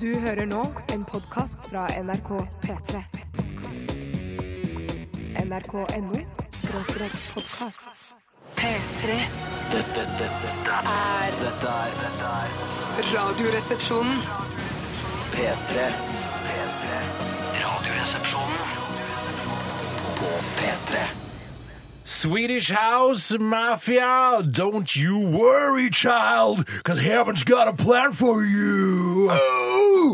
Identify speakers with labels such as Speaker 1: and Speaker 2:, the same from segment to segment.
Speaker 1: Du hører nå en podkast fra NRK P3. NRK.no skråstrek podkast. P3
Speaker 2: Dette, dette, dette,
Speaker 1: er
Speaker 2: dette er dette er
Speaker 1: Radioresepsjonen.
Speaker 2: P3. P3. Radioresepsjonen på P3.
Speaker 3: Swedish House Mafia, don't you worry, child, cause heaven's got a plan for you.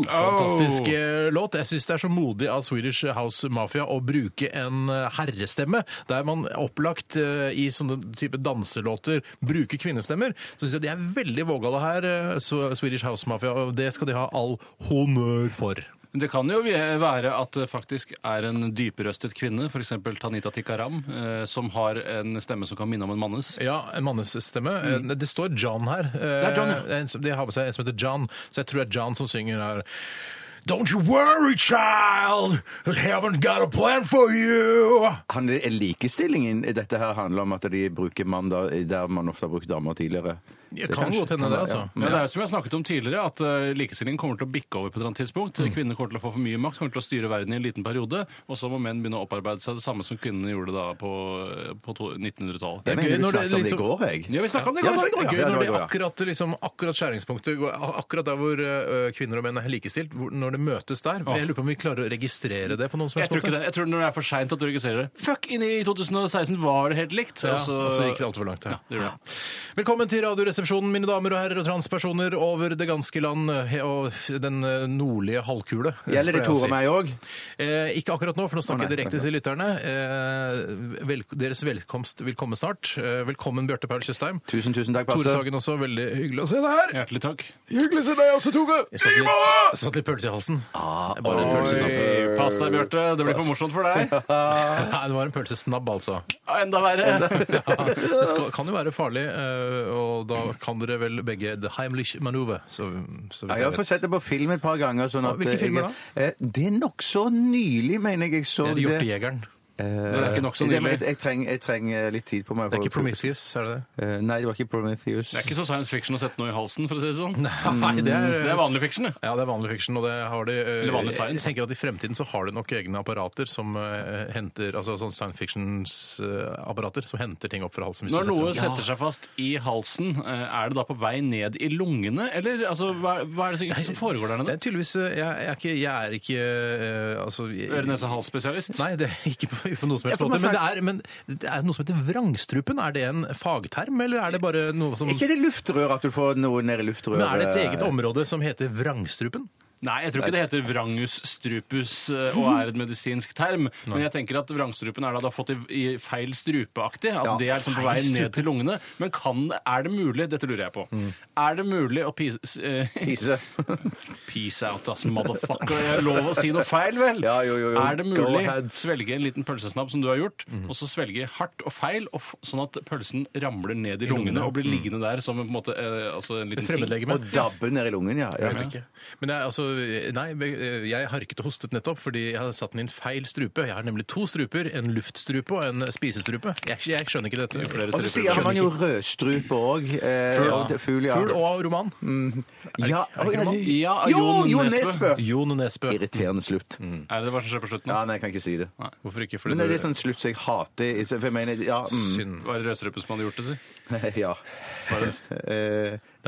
Speaker 3: Fantastisk eh, låt. Jeg syns det er så modig av Swedish House Mafia å bruke en eh, herrestemme. Der man opplagt eh, i sånne type danselåter bruker kvinnestemmer. Så syns jeg de er veldig vågale her, eh, Sw- Swedish House Mafia, og det skal de ha all honnør for.
Speaker 4: Men Det kan jo være at det faktisk er en dyprøstet kvinne, f.eks. Tanita Tikaram, eh, som har en stemme som kan minne om en mannes.
Speaker 3: Ja, en mannesstemme. Eh, Det står John her.
Speaker 4: er John, ja.
Speaker 3: En som- De har med seg en som heter John, så jeg tror det er John som synger her. Don't you worry, child! Heaven's got a plan for you!
Speaker 5: Han, likestillingen Dette her handler om at de bruker mann da, der man ofte har brukt damer tidligere.
Speaker 3: Det kan
Speaker 5: kanskje-
Speaker 3: godt hende
Speaker 5: kan
Speaker 3: det,
Speaker 5: være,
Speaker 3: altså.
Speaker 4: Men det er jo som jeg har snakket om tidligere, at eh, likestillingen kommer til å bikke over på et eller annet tidspunkt.
Speaker 3: Mm.
Speaker 4: Kvinner kommer til å få for mye makt, kommer til å styre verden i en liten periode, og så må menn begynne å opparbeide seg det samme som kvinnene gjorde da på, eh, på to-
Speaker 3: er
Speaker 4: 1900-tallet.
Speaker 5: Jeg mener
Speaker 3: gøy
Speaker 5: vi
Speaker 3: når det
Speaker 5: snakket om det i
Speaker 3: liksom-
Speaker 5: går, jeg.
Speaker 4: Ja, vi snakket om det
Speaker 3: Ja,
Speaker 4: i går.
Speaker 3: det er gøy
Speaker 5: Ja, det
Speaker 3: når
Speaker 5: var
Speaker 3: det
Speaker 5: det, ja.
Speaker 3: akkurat, liksom, akkurat skjæringspunktet, går- akkurat der hvor eh, kvinner og menn er likestilt, hvor- når det møtes der. Jeg lurer på om vi klarer å registrere det på noen som
Speaker 4: Jeg
Speaker 3: helst
Speaker 4: tror ikke
Speaker 3: måte.
Speaker 4: det. Jeg tror når det er for seint at du registrerer det. Fuck, inn i 2016 var det helt likt.
Speaker 3: Ja,
Speaker 4: og så-
Speaker 3: og så gikk det alt for langt, ja.
Speaker 4: Ja, det gjorde det.
Speaker 3: Velkommen til Radioresepsjonen, mine damer og herrer og transpersoner over det ganske land he- og den eh, nordlige halvkule.
Speaker 5: Gjelder
Speaker 3: pleier
Speaker 5: det
Speaker 3: jeg å
Speaker 5: Tore
Speaker 3: si.
Speaker 5: og meg òg?
Speaker 3: Eh, ikke akkurat nå, for nå snakker jeg
Speaker 5: Å, nei,
Speaker 3: direkte til lytterne. Eh, vel, deres velkomst vil komme snart. Eh, velkommen, Bjarte Paul Tjøstheim.
Speaker 5: Tusen, tusen takk,
Speaker 3: Tore
Speaker 5: Passe.
Speaker 3: Sagen også, veldig hyggelig å se deg her.
Speaker 4: Hjertelig takk.
Speaker 3: Hyggelig å se deg også, Tore. Jeg satt litt, satt litt pølse i halsen.
Speaker 5: Ah,
Speaker 3: Bare en pølsesnabb.
Speaker 4: Oi, pass deg, Bjarte. Det blir for morsomt for deg.
Speaker 3: Nei, det var en pølsesnabb, altså.
Speaker 4: Enda verre.
Speaker 3: Ja, det skal, kan jo være farlig, eh, og da kan dere vel begge The Heimlich Maneuver. Så, så vidt
Speaker 5: Ja, jeg har
Speaker 3: jeg
Speaker 5: fått
Speaker 3: vet.
Speaker 5: sett det på film et par ganger. Sånn
Speaker 3: Ja,
Speaker 5: at
Speaker 3: hvilke
Speaker 5: jeg-
Speaker 3: filmer da?
Speaker 5: Eh, Det er nokså nylig, mener jeg. Jeg så
Speaker 3: Det er
Speaker 5: det. Eh,
Speaker 3: Hjortejegeren.
Speaker 4: Det er ikke nok så
Speaker 5: Det-
Speaker 4: nylig.
Speaker 5: men Jeg, jeg, trenger, jeg trenger litt tid på meg.
Speaker 3: Det er ikke
Speaker 5: for å-
Speaker 3: Prometheus, er det det?
Speaker 5: Eh, Nei, det var ikke Prometheus.
Speaker 4: Det er ikke så science fiction å sette noe i halsen, for å si det sånn.
Speaker 3: Nei, det er,
Speaker 4: Det er vanlig fiction, det.
Speaker 3: Ja, det er vanlig fiksjon, og det har de eh,
Speaker 4: Eller vanlig science.
Speaker 3: Jeg tenker at i fremtiden så har de nok egne apparater som eh, henter Altså sånn science fictions-apparater som henter ting opp fra halsen. hvis
Speaker 4: Når
Speaker 3: du setter
Speaker 4: noe
Speaker 3: dem.
Speaker 4: setter seg fast i halsen, eh, er det da på vei ned i lungene, eller altså, hva, hva er det som- som foregår der
Speaker 3: Det
Speaker 4: nede?
Speaker 3: er tydeligvis eh, Jeg, jeg er ikke, jeg er ikke eh, Altså jeg-
Speaker 4: sånn. Øre-nese-hals-spesialist?
Speaker 3: Nei, det er ikke på, på noe som helst
Speaker 5: for
Speaker 3: måte.
Speaker 5: man
Speaker 3: Men det, er, men det er noe som heter vrangstrupen. Er det en fagterm, eller er det bare noe som
Speaker 5: Er ikke det luftrør at du får noe ned i luftrøret? Eh,
Speaker 3: men er det et
Speaker 4: Eh,
Speaker 3: eget område som heter vrangstrupen?
Speaker 4: Nei, jeg tror ikke det heter vrangus strupus eh, og er et medisinsk term. Men jeg tenker at vrangstrupen er da du har fått i, i feil strupeaktig. At det er liksom på vei
Speaker 3: feil Mm.
Speaker 4: ned til lungene. Men kan, er det mulig Dette lurer jeg på. Er det mulig å pise eh,
Speaker 5: Pise.
Speaker 4: Peace out, ass, motherfucker. Jeg er lov å si noe feil, vel?
Speaker 5: Ja, jo, jo, jo.
Speaker 4: Er det
Speaker 5: Go
Speaker 4: mulig
Speaker 5: ahead.
Speaker 4: svelge en liten pølsesnabb som du har gjort, og så svelge hardt og feil, og f sånn at pølsen ramler ned i lungene og blir liggende der som en, på en måte, eh, altså en liten ting?
Speaker 3: Fremmedlegeme?
Speaker 5: Og dabbe ned i lungen, ja. ja.
Speaker 3: Jeg vet ikke. Men jeg, altså, nei, eh, jeg harket og hostet nettopp fordi jeg hadde satt den i en feil strupe. Jeg har nemlig to struper, en luftstrupe og en spisestrupe. Jeg, jeg skjønner ikke dette.
Speaker 4: flere
Speaker 5: Og så
Speaker 4: struper.
Speaker 5: sier har man
Speaker 3: Skjønner
Speaker 5: jo rødstrupe òg.
Speaker 3: Fugl, ja.
Speaker 5: Fugl, ja.
Speaker 3: Fugl og roman.
Speaker 5: ja.
Speaker 3: er det ikke
Speaker 5: Å,
Speaker 3: roman?
Speaker 4: Ja,
Speaker 5: ja, Jo,
Speaker 4: Jon
Speaker 5: Jo
Speaker 4: Nesbø.
Speaker 5: Nesbø!
Speaker 3: Jon Nesbø.
Speaker 5: Irriterende slutt.
Speaker 4: Er det hva som skjer på slutten?
Speaker 5: Ja, nei, jeg kan ikke si det.
Speaker 3: Hvorfor ikke? Fordi
Speaker 5: Men det er
Speaker 3: du-
Speaker 5: litt sånn slutt som jeg hater. For jeg mener, ja, mm,
Speaker 3: Synd.
Speaker 4: Var det rødstrupen som hadde gjort det, si?
Speaker 5: ja.
Speaker 4: Var det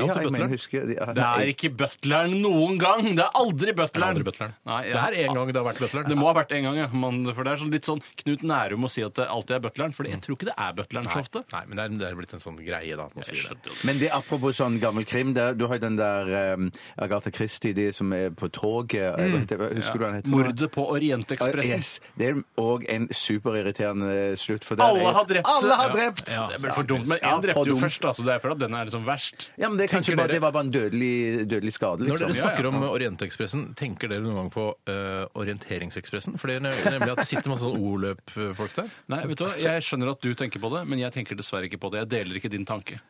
Speaker 3: er alltid
Speaker 5: Eh, ja, jeg
Speaker 3: butleren.
Speaker 5: mener, husker ja,
Speaker 4: Det er
Speaker 5: nei.
Speaker 4: ikke butleren noen gang! Det er aldri
Speaker 3: Det
Speaker 4: butleren!
Speaker 3: er aldri butleren.
Speaker 4: Nei,
Speaker 3: Det er en gang det har vært
Speaker 4: Det
Speaker 3: butleren.
Speaker 4: må ha vært en gang, ja. Man, for det er sånn litt sånn Knut Nærum å si at det alltid er butleren, for jeg tror ikke det er butleren så ofte.
Speaker 3: Nei, men det er, det er blitt en sånn greie, da. At man sier det.
Speaker 5: Men det er apropos sånn gammel krim. Det, er- du har jo den der eh, Agatha Christie, de som er på toget eh,
Speaker 4: Mm.
Speaker 5: hva heter- hva- Husker du hva han heter?
Speaker 4: Mordet på Orientekspressen.
Speaker 5: Yes. Det er òg en superirriterende slutt. For der
Speaker 4: Alle
Speaker 5: er-
Speaker 4: har drept.
Speaker 5: Alle har
Speaker 4: Ja.
Speaker 5: drept!
Speaker 4: Ja, det blir for dumt, men
Speaker 5: Ja,
Speaker 4: én drepte
Speaker 5: for
Speaker 4: jo
Speaker 5: dumt.
Speaker 4: først, da, så det er fordi at den er liksom verst.
Speaker 5: Ja, men det, er kanskje
Speaker 4: Tenker
Speaker 5: bare,
Speaker 4: dere-
Speaker 5: det var bare en dødelig, dødelig skade,
Speaker 3: Når
Speaker 5: liksom.
Speaker 3: dere
Speaker 4: Ja, ja,
Speaker 3: snakker
Speaker 4: ja.
Speaker 3: om Orientekspressen, tenker dere noen gang på eh, Orienteringsekspressen? For det er nemlig at det sitter masse sånn ordløpfolk der.
Speaker 4: Nei, vet du hva? Jeg skjønner at du tenker på det, men jeg tenker dessverre ikke på det. Jeg deler ikke din tanke.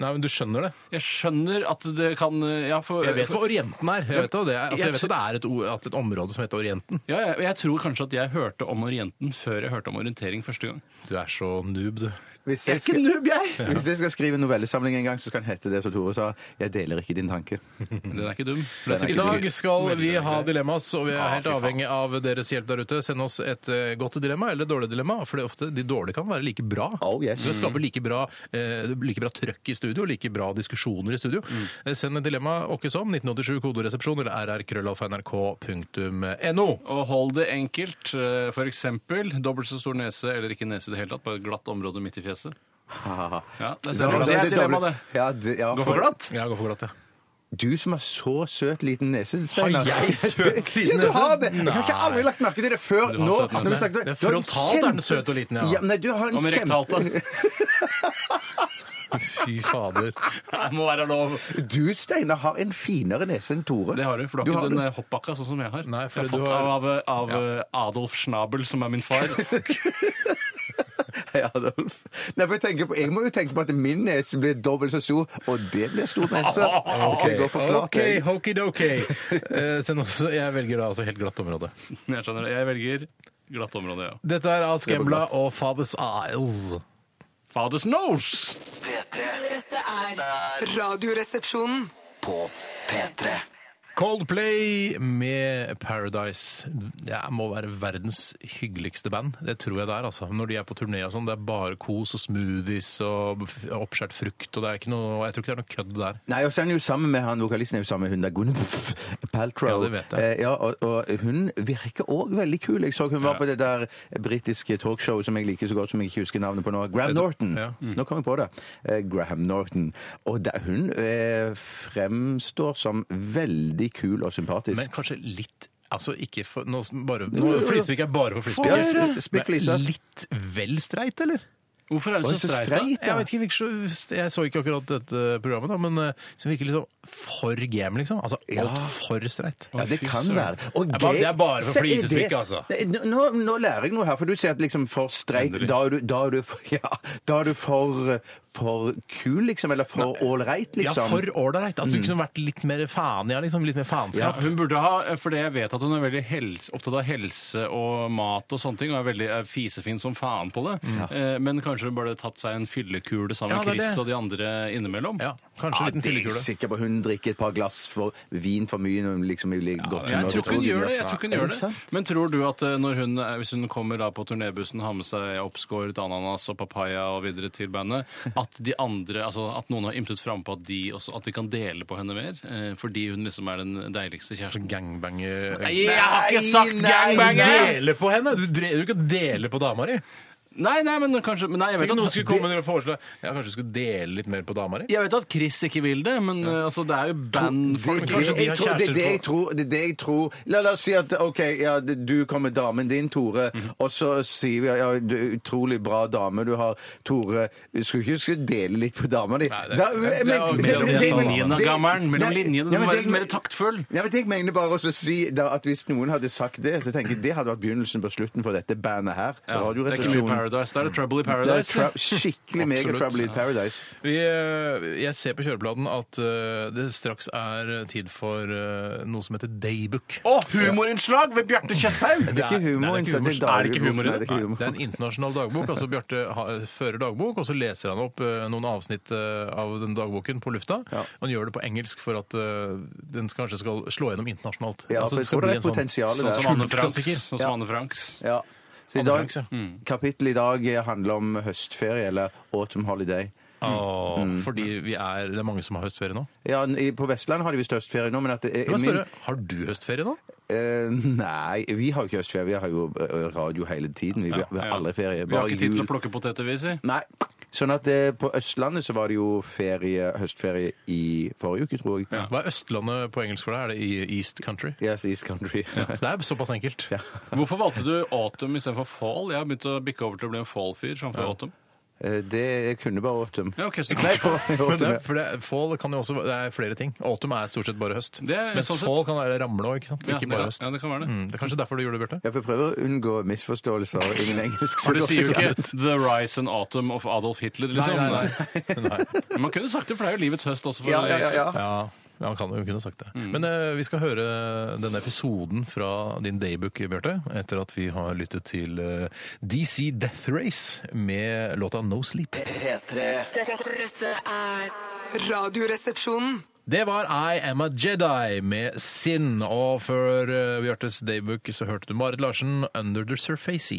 Speaker 3: Nei, men du skjønner det?
Speaker 4: Jeg skjønner at det kan ja, for,
Speaker 3: Jeg vet hva Orienten er. Jeg vet, hva det, er. altså, jeg vet at det er et, o- at et område som heter Orienten.
Speaker 4: ja, jeg, jeg tror kanskje at jeg hørte om Orienten før jeg hørte om orientering første gang.
Speaker 3: Du er så noob, du.
Speaker 5: Hvis
Speaker 4: Jeg er ikke noob, jeg!
Speaker 5: Hvis jeg skal skrive en novellesamling en gang, så skal den hete det som Tore sa. Jeg deler ikke din tanke.
Speaker 4: Den er ikke dum.
Speaker 3: I dag skal vi ha dilemmas, og vi er helt avhengig av deres hjelp der ute. Send oss et eh, godt dilemma eller et dårlig dilemma, for det er ofte de dårlige kan være like bra.
Speaker 5: Oh, yes.
Speaker 3: Det skaper like bra, eh, like bra trøkk i studio, like bra diskusjoner i studio. Eh, Send et dilemma åkke som 1987 kodoresepsjon eller rrkrøllalfa.nrk.no.
Speaker 4: Og hold det enkelt. eh, For eksempel dobbelt så stor nese eller ikke nese i det hele tatt, bare et glatt område midt i fjeset. Ja, det er,
Speaker 5: Ja,
Speaker 4: det er dilemma, det.
Speaker 5: Ja, det, ja,
Speaker 4: Gå for glatt.
Speaker 3: Ja, gå for glatt, ja.
Speaker 5: Du som har så søt liten nese, Steinar.
Speaker 3: Har jeg søt liten
Speaker 5: Ja, du har
Speaker 3: nese?
Speaker 5: det. Jeg har ikke aldri lagt merke til det før
Speaker 4: har
Speaker 5: nå.
Speaker 4: søt nese.
Speaker 5: når vi snakket-
Speaker 3: Det er
Speaker 5: Du har en
Speaker 3: frontalt er den søt og liten, ja.
Speaker 5: ja men nei, du har en
Speaker 4: Og med
Speaker 5: kjempe-
Speaker 4: rektalt, da.
Speaker 3: Fy fader.
Speaker 4: Det må være lov.
Speaker 5: Du, Steinar, har en finere nese enn Tore.
Speaker 4: Det har du, for du har
Speaker 5: Du
Speaker 4: ikke
Speaker 5: har
Speaker 4: den
Speaker 5: det.
Speaker 4: eh, hoppbakka sånn som jeg har.
Speaker 3: Nei, for
Speaker 4: jeg har
Speaker 3: du
Speaker 4: fått
Speaker 3: har-
Speaker 4: av, av eh, Adolf Schnabel, som er min far.
Speaker 5: Ja, Adolf. Nei, for jeg, tenker på, jeg må jo tenke på at min nese blir dobbelt så stor, og det blir stor nese. Så jeg går for flat.
Speaker 3: OK,
Speaker 5: jeg.
Speaker 3: hokidoki. Eh, send oss- Jeg velger da altså helt glatt område.
Speaker 4: Jeg skjønner det. Jeg velger glatt område, ja.
Speaker 3: Dette er Ask
Speaker 5: går
Speaker 3: Embla
Speaker 5: glatt.
Speaker 3: og Fathers Isles.
Speaker 4: Fathers nose!
Speaker 2: P3
Speaker 1: Dette er Radioresepsjonen.
Speaker 2: på P3.
Speaker 3: Coldplay med Paradise. Det må være verdens hyggeligste band. Det tror jeg det er. altså. Når de er på turné og sånn, det er bare kos og smoothies og f- oppskåret frukt. og det er ikke noe, Jeg tror ikke det er noe kødd der.
Speaker 5: Nei, og så er han jo sammen med han, vokalisten er jo sammen med hun der Gwyneth Paltrow.
Speaker 3: Ja, det vet jeg.
Speaker 5: Eh, ja, og, og hun virker òg veldig kul. Jeg så hun var på det der britiske talkshowet som jeg liker så godt, som jeg ikke husker navnet på nå. Graham Norton.
Speaker 3: Ja. Mm.
Speaker 5: Nå kom jeg på det. Eh, Graham Norton. Og da, hun eh, fremstår som veldig kul og sympatisk.
Speaker 3: Men kanskje litt Altså ikke for nå, s- bare, nå, Flispikk er bare for
Speaker 5: Få
Speaker 3: flispikk.
Speaker 5: høre. Spikk, Lisa.
Speaker 3: Men Litt vel streit, eller?
Speaker 4: Hvorfor er
Speaker 5: Oi,
Speaker 4: du så
Speaker 5: så
Speaker 4: streit, da?
Speaker 5: streit.
Speaker 3: Jeg vet ikke, virker så, jeg så ikke akkurat dette programmet, da, men eh, det virker liksom for game, liksom. Altså altfor streit.
Speaker 5: Ja, det
Speaker 4: fy
Speaker 5: kan
Speaker 4: søren.
Speaker 5: være. Og
Speaker 3: Det er bare- det er bare for
Speaker 5: Se, er det-
Speaker 3: flisespikke, altså.
Speaker 5: Det- Nå, nå- nå lærer jeg noe her, for du sier at liksom for streit
Speaker 4: Endelig.
Speaker 5: da er, du, da, er du for, ja, da er du for for kul, liksom? Eller for ålreit,
Speaker 3: Ja,
Speaker 5: liksom?
Speaker 3: for ålreit. Altså, du kunne vært litt mer faen, ja, liksom. Litt mer
Speaker 4: Ja,
Speaker 3: faenskap.
Speaker 4: hun burde ha, eh, for det jeg vet at hun er veldig helse, opptatt av helse og mat og sånne ting, og er veldig er fisefin som faen på det. Eh, Men kanskje hun burde tatt seg en fyllekule
Speaker 3: Mm.
Speaker 4: sammen
Speaker 3: Ja,
Speaker 4: med
Speaker 3: det er
Speaker 4: Chris
Speaker 3: det.
Speaker 4: og de andre innimellom.
Speaker 3: Ja, kanskje
Speaker 5: Ja,
Speaker 3: en liten
Speaker 5: det er jeg
Speaker 3: fyllekule.
Speaker 5: sikker på. Hun drikker et par glass for vin for mye når hun liksom vil ligge godt
Speaker 4: Jeg tror ikke hun gjør det. jeg tror ikke hun
Speaker 5: Er
Speaker 4: gjør
Speaker 5: det
Speaker 4: det.
Speaker 5: sant?
Speaker 4: Men tror du at eh, når hun, eh, hvis hun kommer da på turnébussen, har med seg oppskåret ananas og papaya og videre til bandet, at de andre, altså at noen har ymtet frampå at, de også- at de kan dele på henne mer, eh, fordi hun liksom er den deiligste kjæresten?
Speaker 3: Gangbanger
Speaker 4: Nei, jeg har ikke sagt
Speaker 5: nei,
Speaker 4: gangbanger!
Speaker 3: Dele på henne! Du drev jo ikke å dele på dama di.
Speaker 4: Nei, nei, men kanskje men nei, jeg,
Speaker 3: Tenk
Speaker 4: vet
Speaker 3: om noen
Speaker 4: at,
Speaker 3: skulle komme og foreslå Ja, kanskje du skulle dele litt mer på dama di?
Speaker 4: jeg vet at Chris ikke vil det, men eh, altså, det er jo bandfolk.
Speaker 5: Det,
Speaker 3: Kanskje
Speaker 5: det,
Speaker 3: de har
Speaker 5: jeg tror, det, er
Speaker 3: kjærester
Speaker 5: det, jeg
Speaker 3: på-
Speaker 5: tror, det er det jeg tror La, la oss si at OK, ja, det- du kommer damen din, Tore,
Speaker 4: Mhm.
Speaker 5: og så sier vi ja, du, er utrolig bra dame du har, Tore. Skulle ikke huske å dele litt på dama di.
Speaker 3: Nei, det-
Speaker 5: Da-
Speaker 3: det-
Speaker 5: men-
Speaker 3: det-
Speaker 5: men-
Speaker 3: det-
Speaker 5: det-
Speaker 4: Mellom
Speaker 5: det- men-
Speaker 4: linjene,
Speaker 5: det-
Speaker 4: gammelen. Mellom
Speaker 5: Nei,
Speaker 4: linjene. Du
Speaker 5: nei,
Speaker 4: må
Speaker 5: men
Speaker 4: være
Speaker 5: det-
Speaker 4: litt mer taktfull.
Speaker 5: Nei, men jeg mener bare også å si da, at hvis noen hadde sagt det, så tenker jeg det hadde vært begynnelsen på slutten for dette bandet her.
Speaker 4: Ja, det er ikke mye
Speaker 5: Radioresepsjonen.
Speaker 4: Paradise. Da er det Trouble in
Speaker 5: Det er
Speaker 4: Paradise. sånn
Speaker 5: tra- skikkelig mega
Speaker 4: Absolutt.
Speaker 5: trouble in paradise.
Speaker 3: Vi, eh, jeg ser på kjøreplanen at eh, det straks er tid for eh, noe som heter Daybook.
Speaker 4: Å, humorinnslag ved Bjarte Tjøstheim!
Speaker 5: Det er ikke humor.
Speaker 3: Nei, det er
Speaker 5: så
Speaker 3: ikke humor.
Speaker 4: Er det ikke humor i det?
Speaker 5: Nei, det er ikke
Speaker 3: Nei,
Speaker 5: humor.
Speaker 3: det er en internasjonal dagbok. altså Bjarte ha- fører dagbok, og så leser han opp eh, noen avsnitt eh, av den dagboken på lufta. Og han gjør det på engelsk for at eh, den kanskje skal slå gjennom internasjonalt.
Speaker 5: Ja,
Speaker 3: Altså,
Speaker 5: for
Speaker 3: det
Speaker 5: jeg
Speaker 3: skal bli
Speaker 5: tror det er
Speaker 3: en sånn-
Speaker 5: potensialet
Speaker 4: Sånn
Speaker 5: der.
Speaker 4: som Anne Franks.
Speaker 3: Kultklassiker.
Speaker 4: Sånn som
Speaker 5: Ja.
Speaker 4: Anne Franks.
Speaker 5: Ja. Så i
Speaker 3: Anne
Speaker 5: dag,
Speaker 3: Franks, ja.
Speaker 4: Mm.
Speaker 5: kapittelet i dag eh, handler om høstferie, eller autumn holiday.
Speaker 3: Åh,
Speaker 5: Mm.
Speaker 3: Fordi vi er, det er mange som har høstferie nå.
Speaker 5: Ja, n- i- På Vestland har de visst høstferie nå, men at det er
Speaker 3: La meg
Speaker 5: min-
Speaker 3: spørre, Har du høstferie nå?
Speaker 5: eh, Nei, vi har jo ikke høstferie. Vi har jo eh, radio hele tiden. Vi, vi har aldri ferie.
Speaker 4: Vi har
Speaker 5: Bare
Speaker 4: ikke tid til
Speaker 5: jul.
Speaker 4: å plukke poteter, vi, si.
Speaker 5: Nei. Sånn at eh, på Østlandet så var det jo ferie, høstferie i forrige uke, tror jeg.
Speaker 4: Ja.
Speaker 3: Hva er Østlandet på engelsk for deg? Er det i East Country?
Speaker 5: Yes, East Country.
Speaker 3: Så det er såpass enkelt.
Speaker 4: Hvorfor valgte du autumn istedenfor fall? Jeg har begynt å bikke over til å bli en fall-fyr framfor autumn.
Speaker 5: Eh, Det kunne bare autumn.
Speaker 4: Ja, ok, så
Speaker 5: Nei, for,
Speaker 3: Men det,
Speaker 5: autumn.
Speaker 3: er- for det, er- fall kan jo også, det er flere ting. Autumn er stort sett bare høst.
Speaker 4: Det er-
Speaker 3: Mens
Speaker 4: sånn sett-
Speaker 3: fall kan være ramle òg, ikke sant?
Speaker 4: Ja,
Speaker 3: Ikke
Speaker 4: det
Speaker 3: bare
Speaker 4: kan-
Speaker 3: høst.
Speaker 4: ja, det kan være det.
Speaker 3: Mm, det er kanskje derfor du gjorde det, Bjarte?
Speaker 5: Ja, for Jeg prøver å unngå misforståelser i min engelsk.
Speaker 4: For du
Speaker 5: Så
Speaker 4: sier jo
Speaker 5: godt jeg
Speaker 4: ikke 'The Rise and Autumn of Adolf Hitler', liksom.
Speaker 3: nei, nei. nei.
Speaker 4: Man kunne sagt det, for det er jo livets høst også. For
Speaker 5: Ja, ja, ja, ja.
Speaker 3: Ja. Ja, han kan, hun kunne sagt det. Men eh, vi skal høre denne episoden fra din daybook, Bjarte, etter at vi har lyttet til eh, DC Death Race med låta No Sleep.
Speaker 2: P3
Speaker 6: Dette, dette er Radioresepsjonen.
Speaker 3: Det var I Am A Jedi med Sin, og før eh, Bjartes daybook så hørte du Marit Larsen, Under The Surface.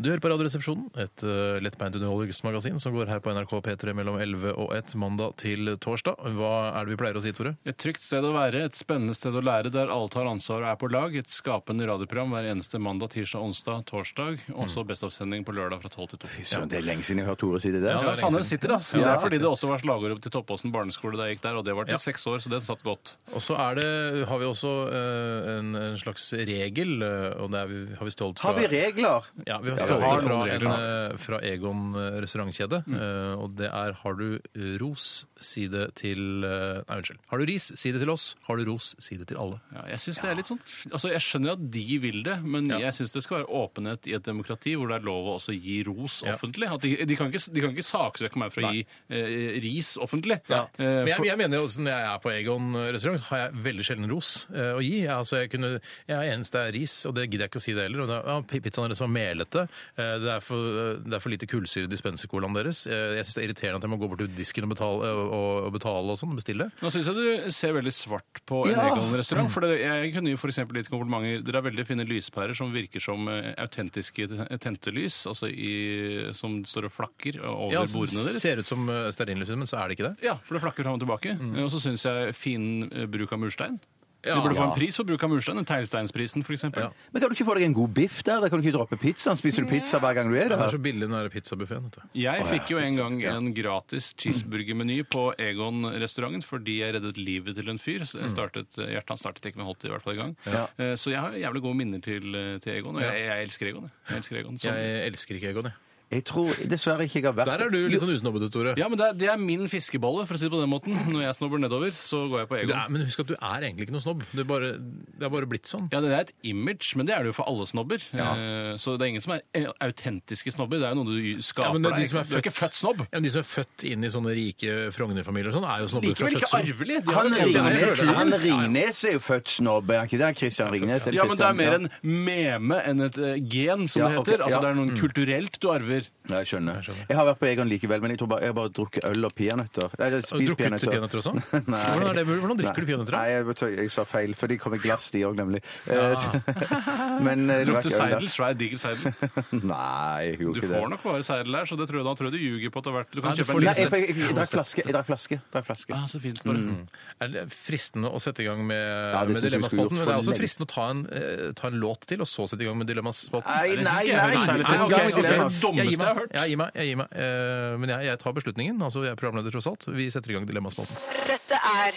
Speaker 3: Du hører på Radioresepsjonen, et uh, lettbeint underholdningsmagasin som går her på NRK P3 mellom 11 og 1 mandag til torsdag. Hva er det vi pleier å si, Tore?
Speaker 4: Et trygt sted å være, et spennende sted å lære, der alle tar ansvar og er på lag. Et skapende radioprogram hver eneste mandag, tirsdag, onsdag, torsdag. Og
Speaker 5: Mm.
Speaker 4: så bestavsending på lørdag fra 12 til 2.
Speaker 5: Så det er lenge siden jeg har hørt Tore si det der.
Speaker 4: Ja, det
Speaker 3: lenge
Speaker 4: er faen, det
Speaker 3: siden.
Speaker 4: sitter, altså.
Speaker 5: Ja,
Speaker 4: det
Speaker 5: det
Speaker 4: er fordi
Speaker 5: sitter.
Speaker 4: det også var slagordet til Toppåsen barneskole da jeg gikk der, og det var til seks år, så det satt godt.
Speaker 3: Og så er det, har vi også eh, en, en slags regel, eh, og det er vi, har vi stjålet fra
Speaker 5: Har vi regler?
Speaker 3: Ja, vi har stjålet
Speaker 5: Ja, vi har
Speaker 3: det fra,
Speaker 4: noen regler,
Speaker 3: en, eh, fra Egon eh, restaurantkjede, eh, og det er har du eh, ros, si det til eh, Nei, unnskyld. Har du ris, si det til oss. Har du ros, si det til alle.
Speaker 4: Ja, jeg synes det er litt sånn, altså jeg skjønner at de vil det, men jeg synes det skal være åpenhet i et demokrati hvor det er lov å også gi ros
Speaker 3: Ja.
Speaker 4: offentlig. At de, de, kan ikke, de kan ikke saksøke meg for å gi eh, ris offentlig. Eh,
Speaker 3: Men jeg,
Speaker 4: for,
Speaker 3: jeg mener jo, også, Når jeg er på Egon eh, restaurant, har jeg veldig sjelden ros eh, å gi. Jeg, altså, jeg, kunne, jeg er eneste er ris, og det gidder jeg ikke å si det heller. Og det er, ja, pi- pizzaen deres var melete. eh, Det er for, eh, det er for lite kullsyre i dispensercolaen deres. eh, Jeg syns det er irriterende at jeg må gå bort til disken og betale eh, og, og, betale og sånn, og bestille.
Speaker 4: Nå syns jeg du ser veldig svart på en
Speaker 5: Ja.
Speaker 4: Egon-restaurant. For det, jeg kunne jo for eksempel gitt komplimenter. Dere har veldig fine lyspærer som virker som eh, autentiske te- tentelys, altså i, som står og flakker over
Speaker 3: Ja, altså,
Speaker 4: bordene deres.
Speaker 3: Ser ut som eh, stearinlys, men så er det ikke det.
Speaker 4: Ja, for det flakker fram og tilbake. Eh, Og så syns jeg fin eh, bruk av murstein.
Speaker 3: Mm. Ja.
Speaker 4: du burde få
Speaker 5: Ja.
Speaker 4: en pris for bruk av murstein. Den teglsteinsprisen, f.eks.
Speaker 3: Ja.
Speaker 4: eksempel.
Speaker 5: Men kan du ikke få deg en god biff der? Da kan du ikke droppe pizzaen. Spiser du pizza hver gang du er
Speaker 3: Det
Speaker 5: der?
Speaker 3: er så billig den der pizzabuffeen.
Speaker 4: Jeg fikk jo en gang en gratis cheeseburgermeny på Egon-restauranten fordi jeg reddet livet til en fyr.
Speaker 3: Mm.
Speaker 4: Så jeg startet, eh, hjertet hans startet ikke, men holdt det i hvert fall i gang. Eh, Så jeg har jævlig gode minner til, eh, til Egon, og jeg, jeg elsker Egon. jeg. Jeg elsker Egon som-
Speaker 3: Jeg elsker ikke Egon, jeg.
Speaker 5: Jeg tror dessverre ikke jeg har vært
Speaker 3: Der er du litt sånn usnobbete, Tore.
Speaker 4: Ja, men det er, det er min fiskebolle, for å si det på den måten. Når jeg snobber nedover, så går jeg
Speaker 3: Du
Speaker 4: på Egon.
Speaker 3: er, men husk at du er egentlig ikke noen snobb. Det er bare, det er bare blitt sånn.
Speaker 4: Ja, Det er et image, men det er det jo for alle snobber. Eh, Så det er ingen som er eh, autentiske snobber. Det er jo noe du skaper
Speaker 3: Ja, men det er de
Speaker 4: deg. ikke
Speaker 3: som er
Speaker 4: sant? Du er
Speaker 3: født-
Speaker 4: ikke født snobb.
Speaker 3: Ja, men De som er født inn i sånne rike Frogner-familier og sånn, er jo snobber fra
Speaker 4: Likevel ikke
Speaker 3: fødselen.
Speaker 4: arvelig. De har
Speaker 5: Han
Speaker 4: jo fått det her
Speaker 5: Ringnes,
Speaker 4: sjøl.
Speaker 5: han Ringnes er jo født snobb, er han ikke det? Christian Ringnes? eller
Speaker 4: Ja, men det er
Speaker 5: Christian-
Speaker 4: mer en meme enn et eh, gen, som
Speaker 5: Ja,
Speaker 4: det
Speaker 5: ok,
Speaker 4: heter. Altså
Speaker 5: ja.
Speaker 4: det er
Speaker 3: Mm.
Speaker 4: noe kulturelt du arver.
Speaker 5: Ja, jeg skjønner. Jeg har vært på Egon likevel, men jeg tror bare, jeg har bare drukket øl og peanøtter. Nei, jeg
Speaker 3: Har
Speaker 5: har
Speaker 3: du
Speaker 5: spist
Speaker 3: drukket peanøtter også?
Speaker 5: Nei.
Speaker 3: Hvordan, er det, hvordan drikker du
Speaker 5: Nei.
Speaker 3: peanøtter? da?
Speaker 5: Nei, jeg, vet ikke, jeg sa feil, for de kom i glass, de òg, nemlig. Eh, så- men eh,
Speaker 4: Drukte
Speaker 5: drakk øl
Speaker 4: seidel, svær diger seidel.
Speaker 5: der. Nei, jeg
Speaker 4: Du
Speaker 5: gjorde ikke det.
Speaker 4: får nok bare seidel her, så det tror jeg, da tror jeg du ljuger på at det har vært Du kan
Speaker 3: Nei, du
Speaker 4: kjøpe
Speaker 3: får
Speaker 4: en
Speaker 5: Nei,
Speaker 4: liten
Speaker 5: jeg,
Speaker 3: det.
Speaker 5: jeg, jeg, jeg drakk flaske. Jeg drakk flaske. Jeg drakk flaske.
Speaker 4: ah, Så fint, bare.
Speaker 3: Mm. Er det fristende å sette i gang med,
Speaker 5: det
Speaker 3: med
Speaker 5: synes jeg vi skulle gjort
Speaker 3: Dilemmaspalten? Men det er
Speaker 5: for
Speaker 3: også
Speaker 5: lenge.
Speaker 3: fristende å ta en, eh, ta en låt til, og så sette i gang med Dilemmaspalten?
Speaker 5: Nei,
Speaker 3: Det synes ikke
Speaker 5: nei,
Speaker 3: jeg er
Speaker 5: nei,
Speaker 3: veldig-
Speaker 5: nei, nei,
Speaker 3: ok, ok,
Speaker 5: ok, ok.
Speaker 3: jeg gir meg.
Speaker 4: Dummeste jeg har hørt.
Speaker 3: Jeg gir meg. Jeg gir meg. Eh, Men jeg, jeg tar beslutningen. Altså, jeg er programleder, tross alt. Vi setter i gang Dilemmaspalten.
Speaker 6: Dette er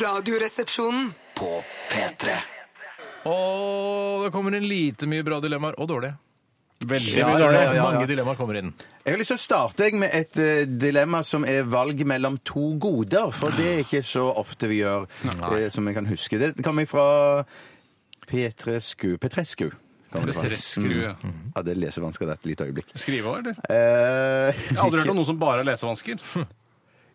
Speaker 6: Radioresepsjonen.
Speaker 2: På P3
Speaker 3: Og det kommer inn lite mye bra dilemmaer, og dårlige.
Speaker 4: Veldig
Speaker 5: Ja,
Speaker 4: mye
Speaker 5: ja,
Speaker 4: dårlig.
Speaker 5: ja, ja.
Speaker 3: Mange dilemmaer kommer inn.
Speaker 5: Jeg har lyst til å starte jeg, med et eh, dilemma som er valg mellom to goder. For det er ikke så ofte vi gjør, eh, som jeg kan huske. Det kommer fra Petrescu. Petrescu. kommer det fra.
Speaker 4: Petrescu, ja.
Speaker 5: Mm. Ja, det er lesevansker der et lite øyeblikk.
Speaker 4: Skrive òg, eller?
Speaker 5: Eh,
Speaker 4: Jeg har aldri hørt om noen som bare har lesevansker.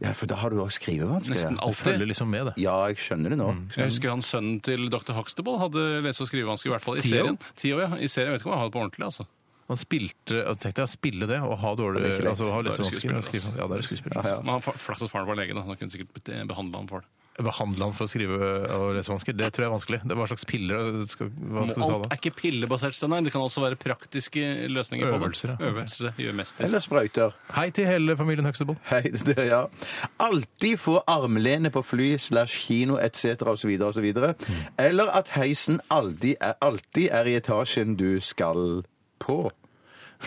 Speaker 5: Ja, for da har du også skrivevansker.
Speaker 4: Nesten Mm.
Speaker 5: ja.
Speaker 4: alltid.
Speaker 3: Følger liksom med, det.
Speaker 5: Ja, jeg skjønner det nå.
Speaker 4: Jeg husker han sønnen til dr. Huxtable hadde lese- og skrivevansker, i hvert fall i
Speaker 3: Theo?
Speaker 4: serien. Theo, ja. I serien, Jeg vet ikke om han har det på ordentlig, altså.
Speaker 3: Han spilte og tenkte jeg spille det og ha dårlig
Speaker 5: Ja, det er ikke lett.
Speaker 3: altså, ha
Speaker 4: Da er det
Speaker 3: lesevansker.
Speaker 4: skuespiller,
Speaker 3: og skrive-
Speaker 4: altså.
Speaker 3: Ja, det er skuespiller. Altså.
Speaker 4: Men han- Flaks at faren var lege, da. Han kunne sikkert be- behandle ham for det.
Speaker 3: Behandle han for å skrive og lesevansker, det tror jeg er vanskelig. Det er Hva slags piller skal, hva skal du ta
Speaker 4: Alt
Speaker 3: da?
Speaker 4: er ikke pillebasert, Steinar. Det kan også være praktiske løsninger på det.
Speaker 3: Øvelser, ja.
Speaker 4: Øvelser gjør mester.
Speaker 5: Eller sprøyter.
Speaker 3: Hei til hele familien Huxtable.
Speaker 5: Hei, det er ja. Alltid få armlene på fly slash kino etc. osv. osv. Eller at heisen alltid er, alltid er i etasjen du skal på.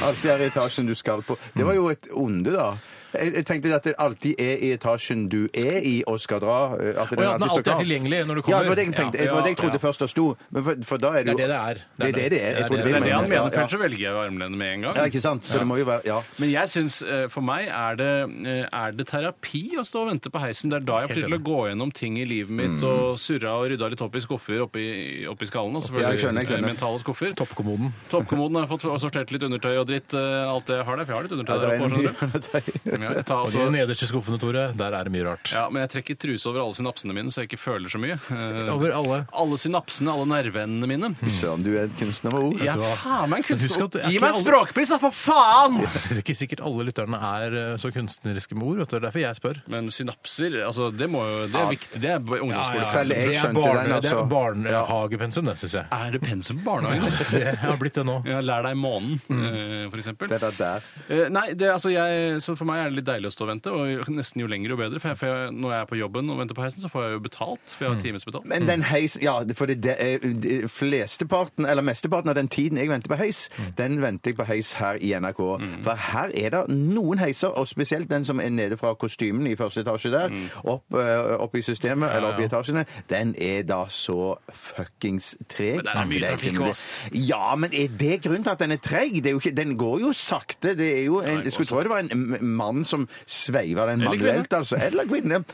Speaker 5: Alltid er i etasjen du skal på. Det var jo et onde, da. Jeg, jeg tenkte at det alltid er i etasjen du er i og skal dra. eh, At
Speaker 3: Å ja, den alltid er tilgjengelig når du
Speaker 5: Ja,
Speaker 3: kommer.
Speaker 5: det var det jeg tenkte. Det var det jeg trodde først det sto. Men for, for da er det jo
Speaker 3: Det er det det er.
Speaker 5: Det er det det er. Jeg
Speaker 4: Det
Speaker 5: trodde
Speaker 4: er det han mener,
Speaker 5: Ja,
Speaker 4: for
Speaker 5: ja.
Speaker 4: ellers så velger jeg jo armlenet med en gang.
Speaker 5: Ja, ikke sant? Så det må jo være Ja.
Speaker 4: Men jeg synes, eh, for meg er det, eh, er det terapi å stå og vente på heisen. Det er da jeg får tid til å gå gjennom ting i livet
Speaker 5: Mm.
Speaker 4: mitt og surra og rydda litt opp i skuffer oppi, oppi skallen. Altså,
Speaker 5: Ja, jeg skjønner, jeg skjønner.
Speaker 4: eh, Mentale skuffer.
Speaker 3: Toppkommoden.
Speaker 4: Toppkommoden har jeg fått og sortert litt undertøy og dritt. eh, Alt det jeg har der, for jeg har litt undertøy
Speaker 5: Ja,
Speaker 4: der
Speaker 5: det er
Speaker 4: oppe. skjønner du?
Speaker 5: en-
Speaker 4: Ja, ta
Speaker 3: Og de
Speaker 4: altså...
Speaker 3: nederste skuffene, Tore, der er det mye rart.
Speaker 4: Ja, men jeg trekker truse over alle synapsene mine, så jeg ikke føler så mye. Eh,
Speaker 3: Over alle?
Speaker 4: Alle synapsene, alle nerveendene mine.
Speaker 5: Søren, du er en kunstner med ord.
Speaker 4: Jeg er
Speaker 3: hva?
Speaker 4: faen meg en
Speaker 3: Men husk
Speaker 4: kunstner.
Speaker 3: at det er
Speaker 4: Gi
Speaker 3: ikke
Speaker 4: meg en
Speaker 3: alle-
Speaker 4: språkpris, da, for faen!
Speaker 3: Det er ikke sikkert alle lytterne er eh, så kunstneriske med ord, vet du. Det er derfor jeg spør.
Speaker 4: Men synapser, altså, det, må jo, det er viktig. Det er ungdomsskole.
Speaker 5: ja. Selv jeg
Speaker 3: Det er
Speaker 5: skjønte
Speaker 3: barne-
Speaker 5: den, altså.
Speaker 3: Det er barnehagepensum, det, syns jeg.
Speaker 4: Er det pensum på barnehagen?
Speaker 3: Det har blitt det nå.
Speaker 4: Ja, lær deg månen,
Speaker 3: Mm.
Speaker 4: eh, for eksempel.
Speaker 5: Det der der.
Speaker 4: Eh, Nei, det, altså jeg, så for meg er det litt deilig å stå og vente, og nesten jo lenger jo bedre. For, jeg, for jeg, når jeg er på jobben og venter på heisen, så får jeg jo betalt, for jeg
Speaker 3: Mm.
Speaker 4: har timesbetalt.
Speaker 5: Men den heisen Ja, for det er de- flesteparten, eller mesteparten av den tiden jeg venter på heis,
Speaker 4: Mm.
Speaker 5: den venter jeg på heis her i NRK. For her er det noen heiser, og spesielt den som er nede fra kostymen i første etasje der,
Speaker 4: Mm.
Speaker 5: opp, eh, opp i systemet, eller opp i etasjene, den er da så fuckings treg.
Speaker 4: Men der er mye
Speaker 5: Det
Speaker 4: trafikk
Speaker 5: ikke mulig.
Speaker 4: også.
Speaker 5: Ja, men er det grunnen til at den er treg? Det er jo ikke, den går jo sakte. Det er jo en,
Speaker 4: den
Speaker 5: jeg
Speaker 4: går
Speaker 5: skulle tro det var en m- mann som sveiver den
Speaker 4: Eller kvinne.
Speaker 5: manuelt, altså. Eller kvinne.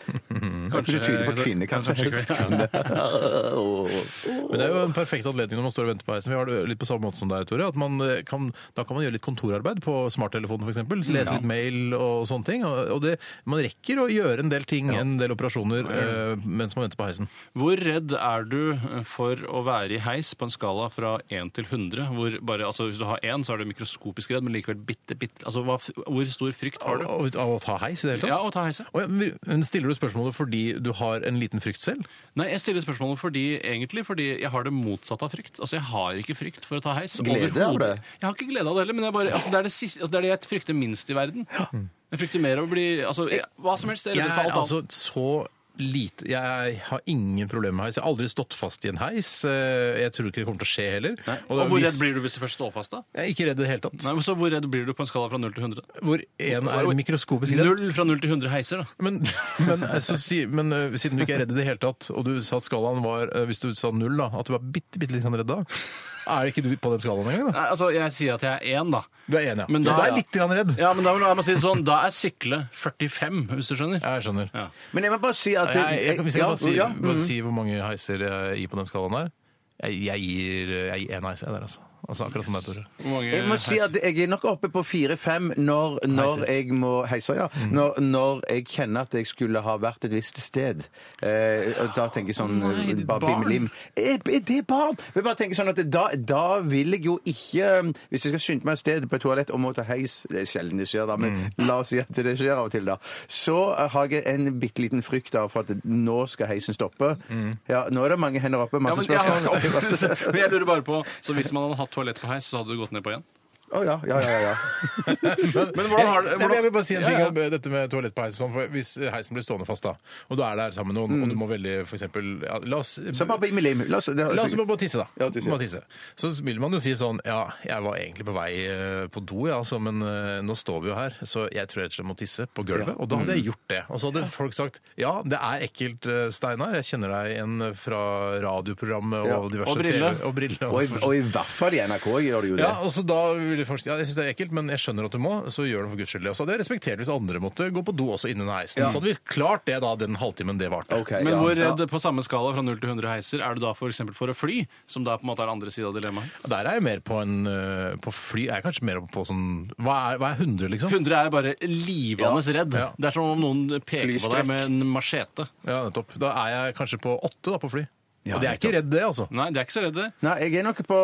Speaker 5: Kanskje, du tyder på kvinne, kanskje.
Speaker 4: kanskje
Speaker 5: helst
Speaker 4: kvinne.
Speaker 5: kvinne. Åh.
Speaker 3: Men det er jo en perfekt anledning når man står og venter på heisen. Vi har det litt på samme måte som deg, Tore. At man eh, kan, da kan man gjøre litt kontorarbeid på smarttelefonen, f.eks. Lese litt mail og sånne ting. Og og det, man rekker å gjøre en del ting, en del operasjoner, eh, mens man venter på heisen.
Speaker 4: Hvor redd er du eh, for å være i heis på en skala fra 1 til 100? Hvor bare, altså, hvis du har 1, så er du mikroskopisk redd, men likevel bitte, bitte altså, hva, Hvor stor frykt har du?
Speaker 3: Av å- av å ta heis i det hele tatt?
Speaker 4: Ja, å ta heisen.
Speaker 3: Å ja, men- men Stiller du spørsmålet fordi du har en liten frykt selv?
Speaker 4: Nei, jeg stiller spørsmålet fordi, egentlig fordi jeg har det motsatte av frykt. Altså, jeg har ikke frykt for å ta heis.
Speaker 5: Glede av
Speaker 4: overhodet.
Speaker 5: det?
Speaker 4: Jeg har ikke glede av det heller, men jeg bare, altså, det, er det, siste, altså, det er det jeg frykter minst i verden. Jeg frykter mer av å bli altså, jeg, Hva som helst. Jeg er
Speaker 3: Jeg
Speaker 4: redd for
Speaker 3: er
Speaker 4: alt annet.
Speaker 3: altså så lite Jeg har ingen problemer med heis. Jeg har aldri stått fast i en heis. eh, Jeg tror ikke det kommer til å skje heller.
Speaker 4: Og,
Speaker 3: det er
Speaker 4: hvor
Speaker 3: hvis-
Speaker 4: redd blir du hvis du først står fast, da?
Speaker 3: Jeg er ikke redd i det hele tatt.
Speaker 4: Nei, men så Hvor redd blir du på en skala fra 0 til 100?
Speaker 3: Hvor én er mikroskopisk redd.
Speaker 4: Null fra 0 til 100 heiser, da.
Speaker 3: Men, men, eh, så si, men eh, siden du ikke er redd i det hele tatt, og du sa at skalaen var eh, Hvis du sa null, da, at du var bitte, bitte litt redd da, er ikke du på den skalaen engang? da?
Speaker 4: Nei, altså, Jeg sier at jeg er 1, da.
Speaker 3: Du er enig, ja.
Speaker 4: Men da-
Speaker 3: så du er litt grann redd.
Speaker 4: Ja, men Da vil jeg må si det sånn, da er sykle 45, hvis du skjønner.
Speaker 3: Jeg skjønner.
Speaker 4: Ja. mm.
Speaker 5: Men jeg må bare si at
Speaker 3: Jeg, jeg, jeg, hvis jeg
Speaker 5: ja,
Speaker 3: kan bare si,
Speaker 5: ja,
Speaker 3: bare si hvor mange heiser jeg gir på den skalaen der Jeg, jeg gir jeg gir én heis, jeg der, altså. altså. Akkurat som deg, Tore.
Speaker 4: Hvor mange
Speaker 5: Jeg må si at jeg er nok oppe på fire-fem når, når jeg må heiser, ja.
Speaker 4: Mm.
Speaker 5: Når, når jeg kjenner at jeg skulle ha vært et visst sted. Eh, og da tenker jeg sånn
Speaker 4: Nei, ditt
Speaker 5: bare
Speaker 4: barn.
Speaker 5: bimmelim. Er, er det barn? Jeg bare tenker sånn at da, da vil jeg jo ikke um, Hvis jeg skal skynde meg et sted på et toalett og må ta heis Det er sjelden det skjer, da, men
Speaker 4: Mm.
Speaker 5: la oss si at det skjer av og til, da. Så eh, har jeg en bitte liten frykt av for at nå skal heisen stoppe. Ja, nå er det mange hender oppe,
Speaker 4: Mm. ja,
Speaker 5: masse
Speaker 4: men, jeg har ikke
Speaker 5: spørsmål.
Speaker 4: opplevd det. men jeg lurer bare på, så Hvis man hadde hatt toalett på heis, så hadde du gått ned på én?
Speaker 5: Å ja, ja, ja, ja.
Speaker 4: Men hvordan har
Speaker 3: Nei,
Speaker 4: det,
Speaker 3: men jeg vil bare si en ting
Speaker 4: Ja, ja.
Speaker 3: om eh, dette med toalett på heis. og Sånn, for hvis heisen blir stående fast, da, og du er der sammen med noen,
Speaker 4: Mm.
Speaker 3: og du må veldig for eksempel, ja, La oss
Speaker 5: Så bare bimmelim. La oss, det,
Speaker 3: La oss bare bare tisse, da.
Speaker 5: Ja, tisse, ja.
Speaker 3: Bare tisse. Så vil man jo si sånn Ja, jeg var egentlig på vei eh, på do, ja, altså, men eh, nå står vi jo her, så jeg tror jeg rett og slett må tisse på gulvet. Og da hadde
Speaker 5: Mm.
Speaker 3: jeg gjort det. Og så hadde folk sagt Ja, det er ekkelt, eh, Steinar. Jeg kjenner deg igjen fra radioprogrammet og
Speaker 5: Ja.
Speaker 3: diverse
Speaker 4: Og brille.
Speaker 3: TV og brille.
Speaker 5: Og i, og i hvert fall i NRK gjør det jo det.
Speaker 3: Ja, og så da ville folk si ja, jeg synes det er ekkelt, men jeg skjønner at du må, så gjør det for guds skyld. Og så hadde jeg respektert hvis andre måtte gå på do også innen heisen. Så hadde vi klart det da, den halvtimen det varte.
Speaker 5: Ok,
Speaker 4: Men
Speaker 5: ja,
Speaker 4: hvor eh,
Speaker 5: ja.
Speaker 4: redd på samme skala fra 0 til 100 heiser er du da for, eksempel for å fly, som da på en måte er andre sida av dilemmaet?
Speaker 3: Der er jeg mer på en øh, på fly Jeg er kanskje mer på sånn Hva er, hva er 100, liksom?
Speaker 4: 100 er bare livende redd.
Speaker 3: Ja.
Speaker 4: Det er som om noen peker på
Speaker 5: Flystrekk.
Speaker 4: deg med en machete.
Speaker 3: Ja, nettopp. Da er jeg kanskje på 8 da, på fly.
Speaker 5: Ja,
Speaker 3: Og det er ikke
Speaker 5: nettopp.
Speaker 3: redd, det, altså.
Speaker 4: Nei, det er ikke så redd, det.
Speaker 5: Nei, jeg er nok på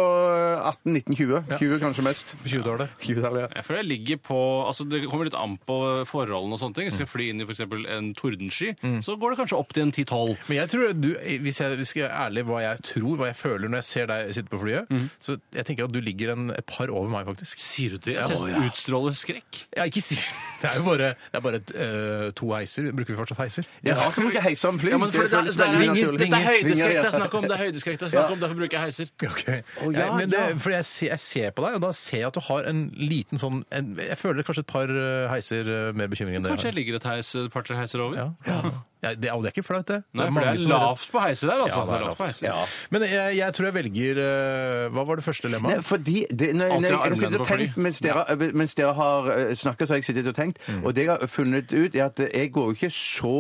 Speaker 5: 18-19-20. 20 kanskje mest.
Speaker 3: På 20-tallet.
Speaker 5: 20 ja.
Speaker 4: Jeg føler jeg ligger på altså Det kommer litt an på forholdene og sånne ting. Skal jeg fly inn i f.eks. en tordensky, så går det kanskje opp til en 10-12.
Speaker 3: Men jeg tror du, hvis jeg skal være ærlig hva jeg tror, hva jeg føler når jeg ser deg sitte på flyet, så jeg tenker at du ligger en, et par over meg, faktisk.
Speaker 4: Mhm. Sier du det? Jeg synes det utstråler skrekk.
Speaker 3: Ja, ikke si Det er jo bare, det er bare øh, to heiser. Bruker vi fortsatt heiser?
Speaker 5: Det er rart å bruke heis om fly.
Speaker 4: Ja, men for det, er-
Speaker 5: føles
Speaker 4: det,
Speaker 5: veldig
Speaker 4: er-
Speaker 5: naturlig.
Speaker 4: dette er høydeskrekk
Speaker 5: Vinger,
Speaker 4: det
Speaker 5: ja.
Speaker 4: er snakk om, det er høydeskrekk det er snakk om, derfor bruker jeg heiser.
Speaker 3: Ok.
Speaker 5: Å, ja,
Speaker 3: Jeg- men det,
Speaker 5: ja.
Speaker 3: For jeg, ser- jeg ser på deg, og da ser jeg at du har en liten sånn en, Jeg føler kanskje et par øh, eh, heiser øh, mer bekymring enn det.
Speaker 4: Kanskje jeg ligger et heis, et par-tre heiser over?
Speaker 3: Ja. Ja, det, og det er ikke flaut, det.
Speaker 4: Nei,
Speaker 3: er
Speaker 4: for det
Speaker 3: mange
Speaker 4: er
Speaker 3: som har-
Speaker 4: lavt på heiser der, altså.
Speaker 3: Ja, det er lavt.
Speaker 4: på heiser.
Speaker 5: Ja.
Speaker 3: Men jeg, jeg tror jeg velger eh, Hva var det første lemmaet?
Speaker 5: Nei, fordi det, nei,
Speaker 4: Alltid ha
Speaker 5: nei, jeg har
Speaker 4: armlenet
Speaker 5: sittet og
Speaker 4: på fly.
Speaker 5: tenkt mens dere, mens dere har snakka, så har jeg sittet og tenkt.
Speaker 4: Mm.
Speaker 5: Og det jeg har funnet ut, er at jeg går jo ikke så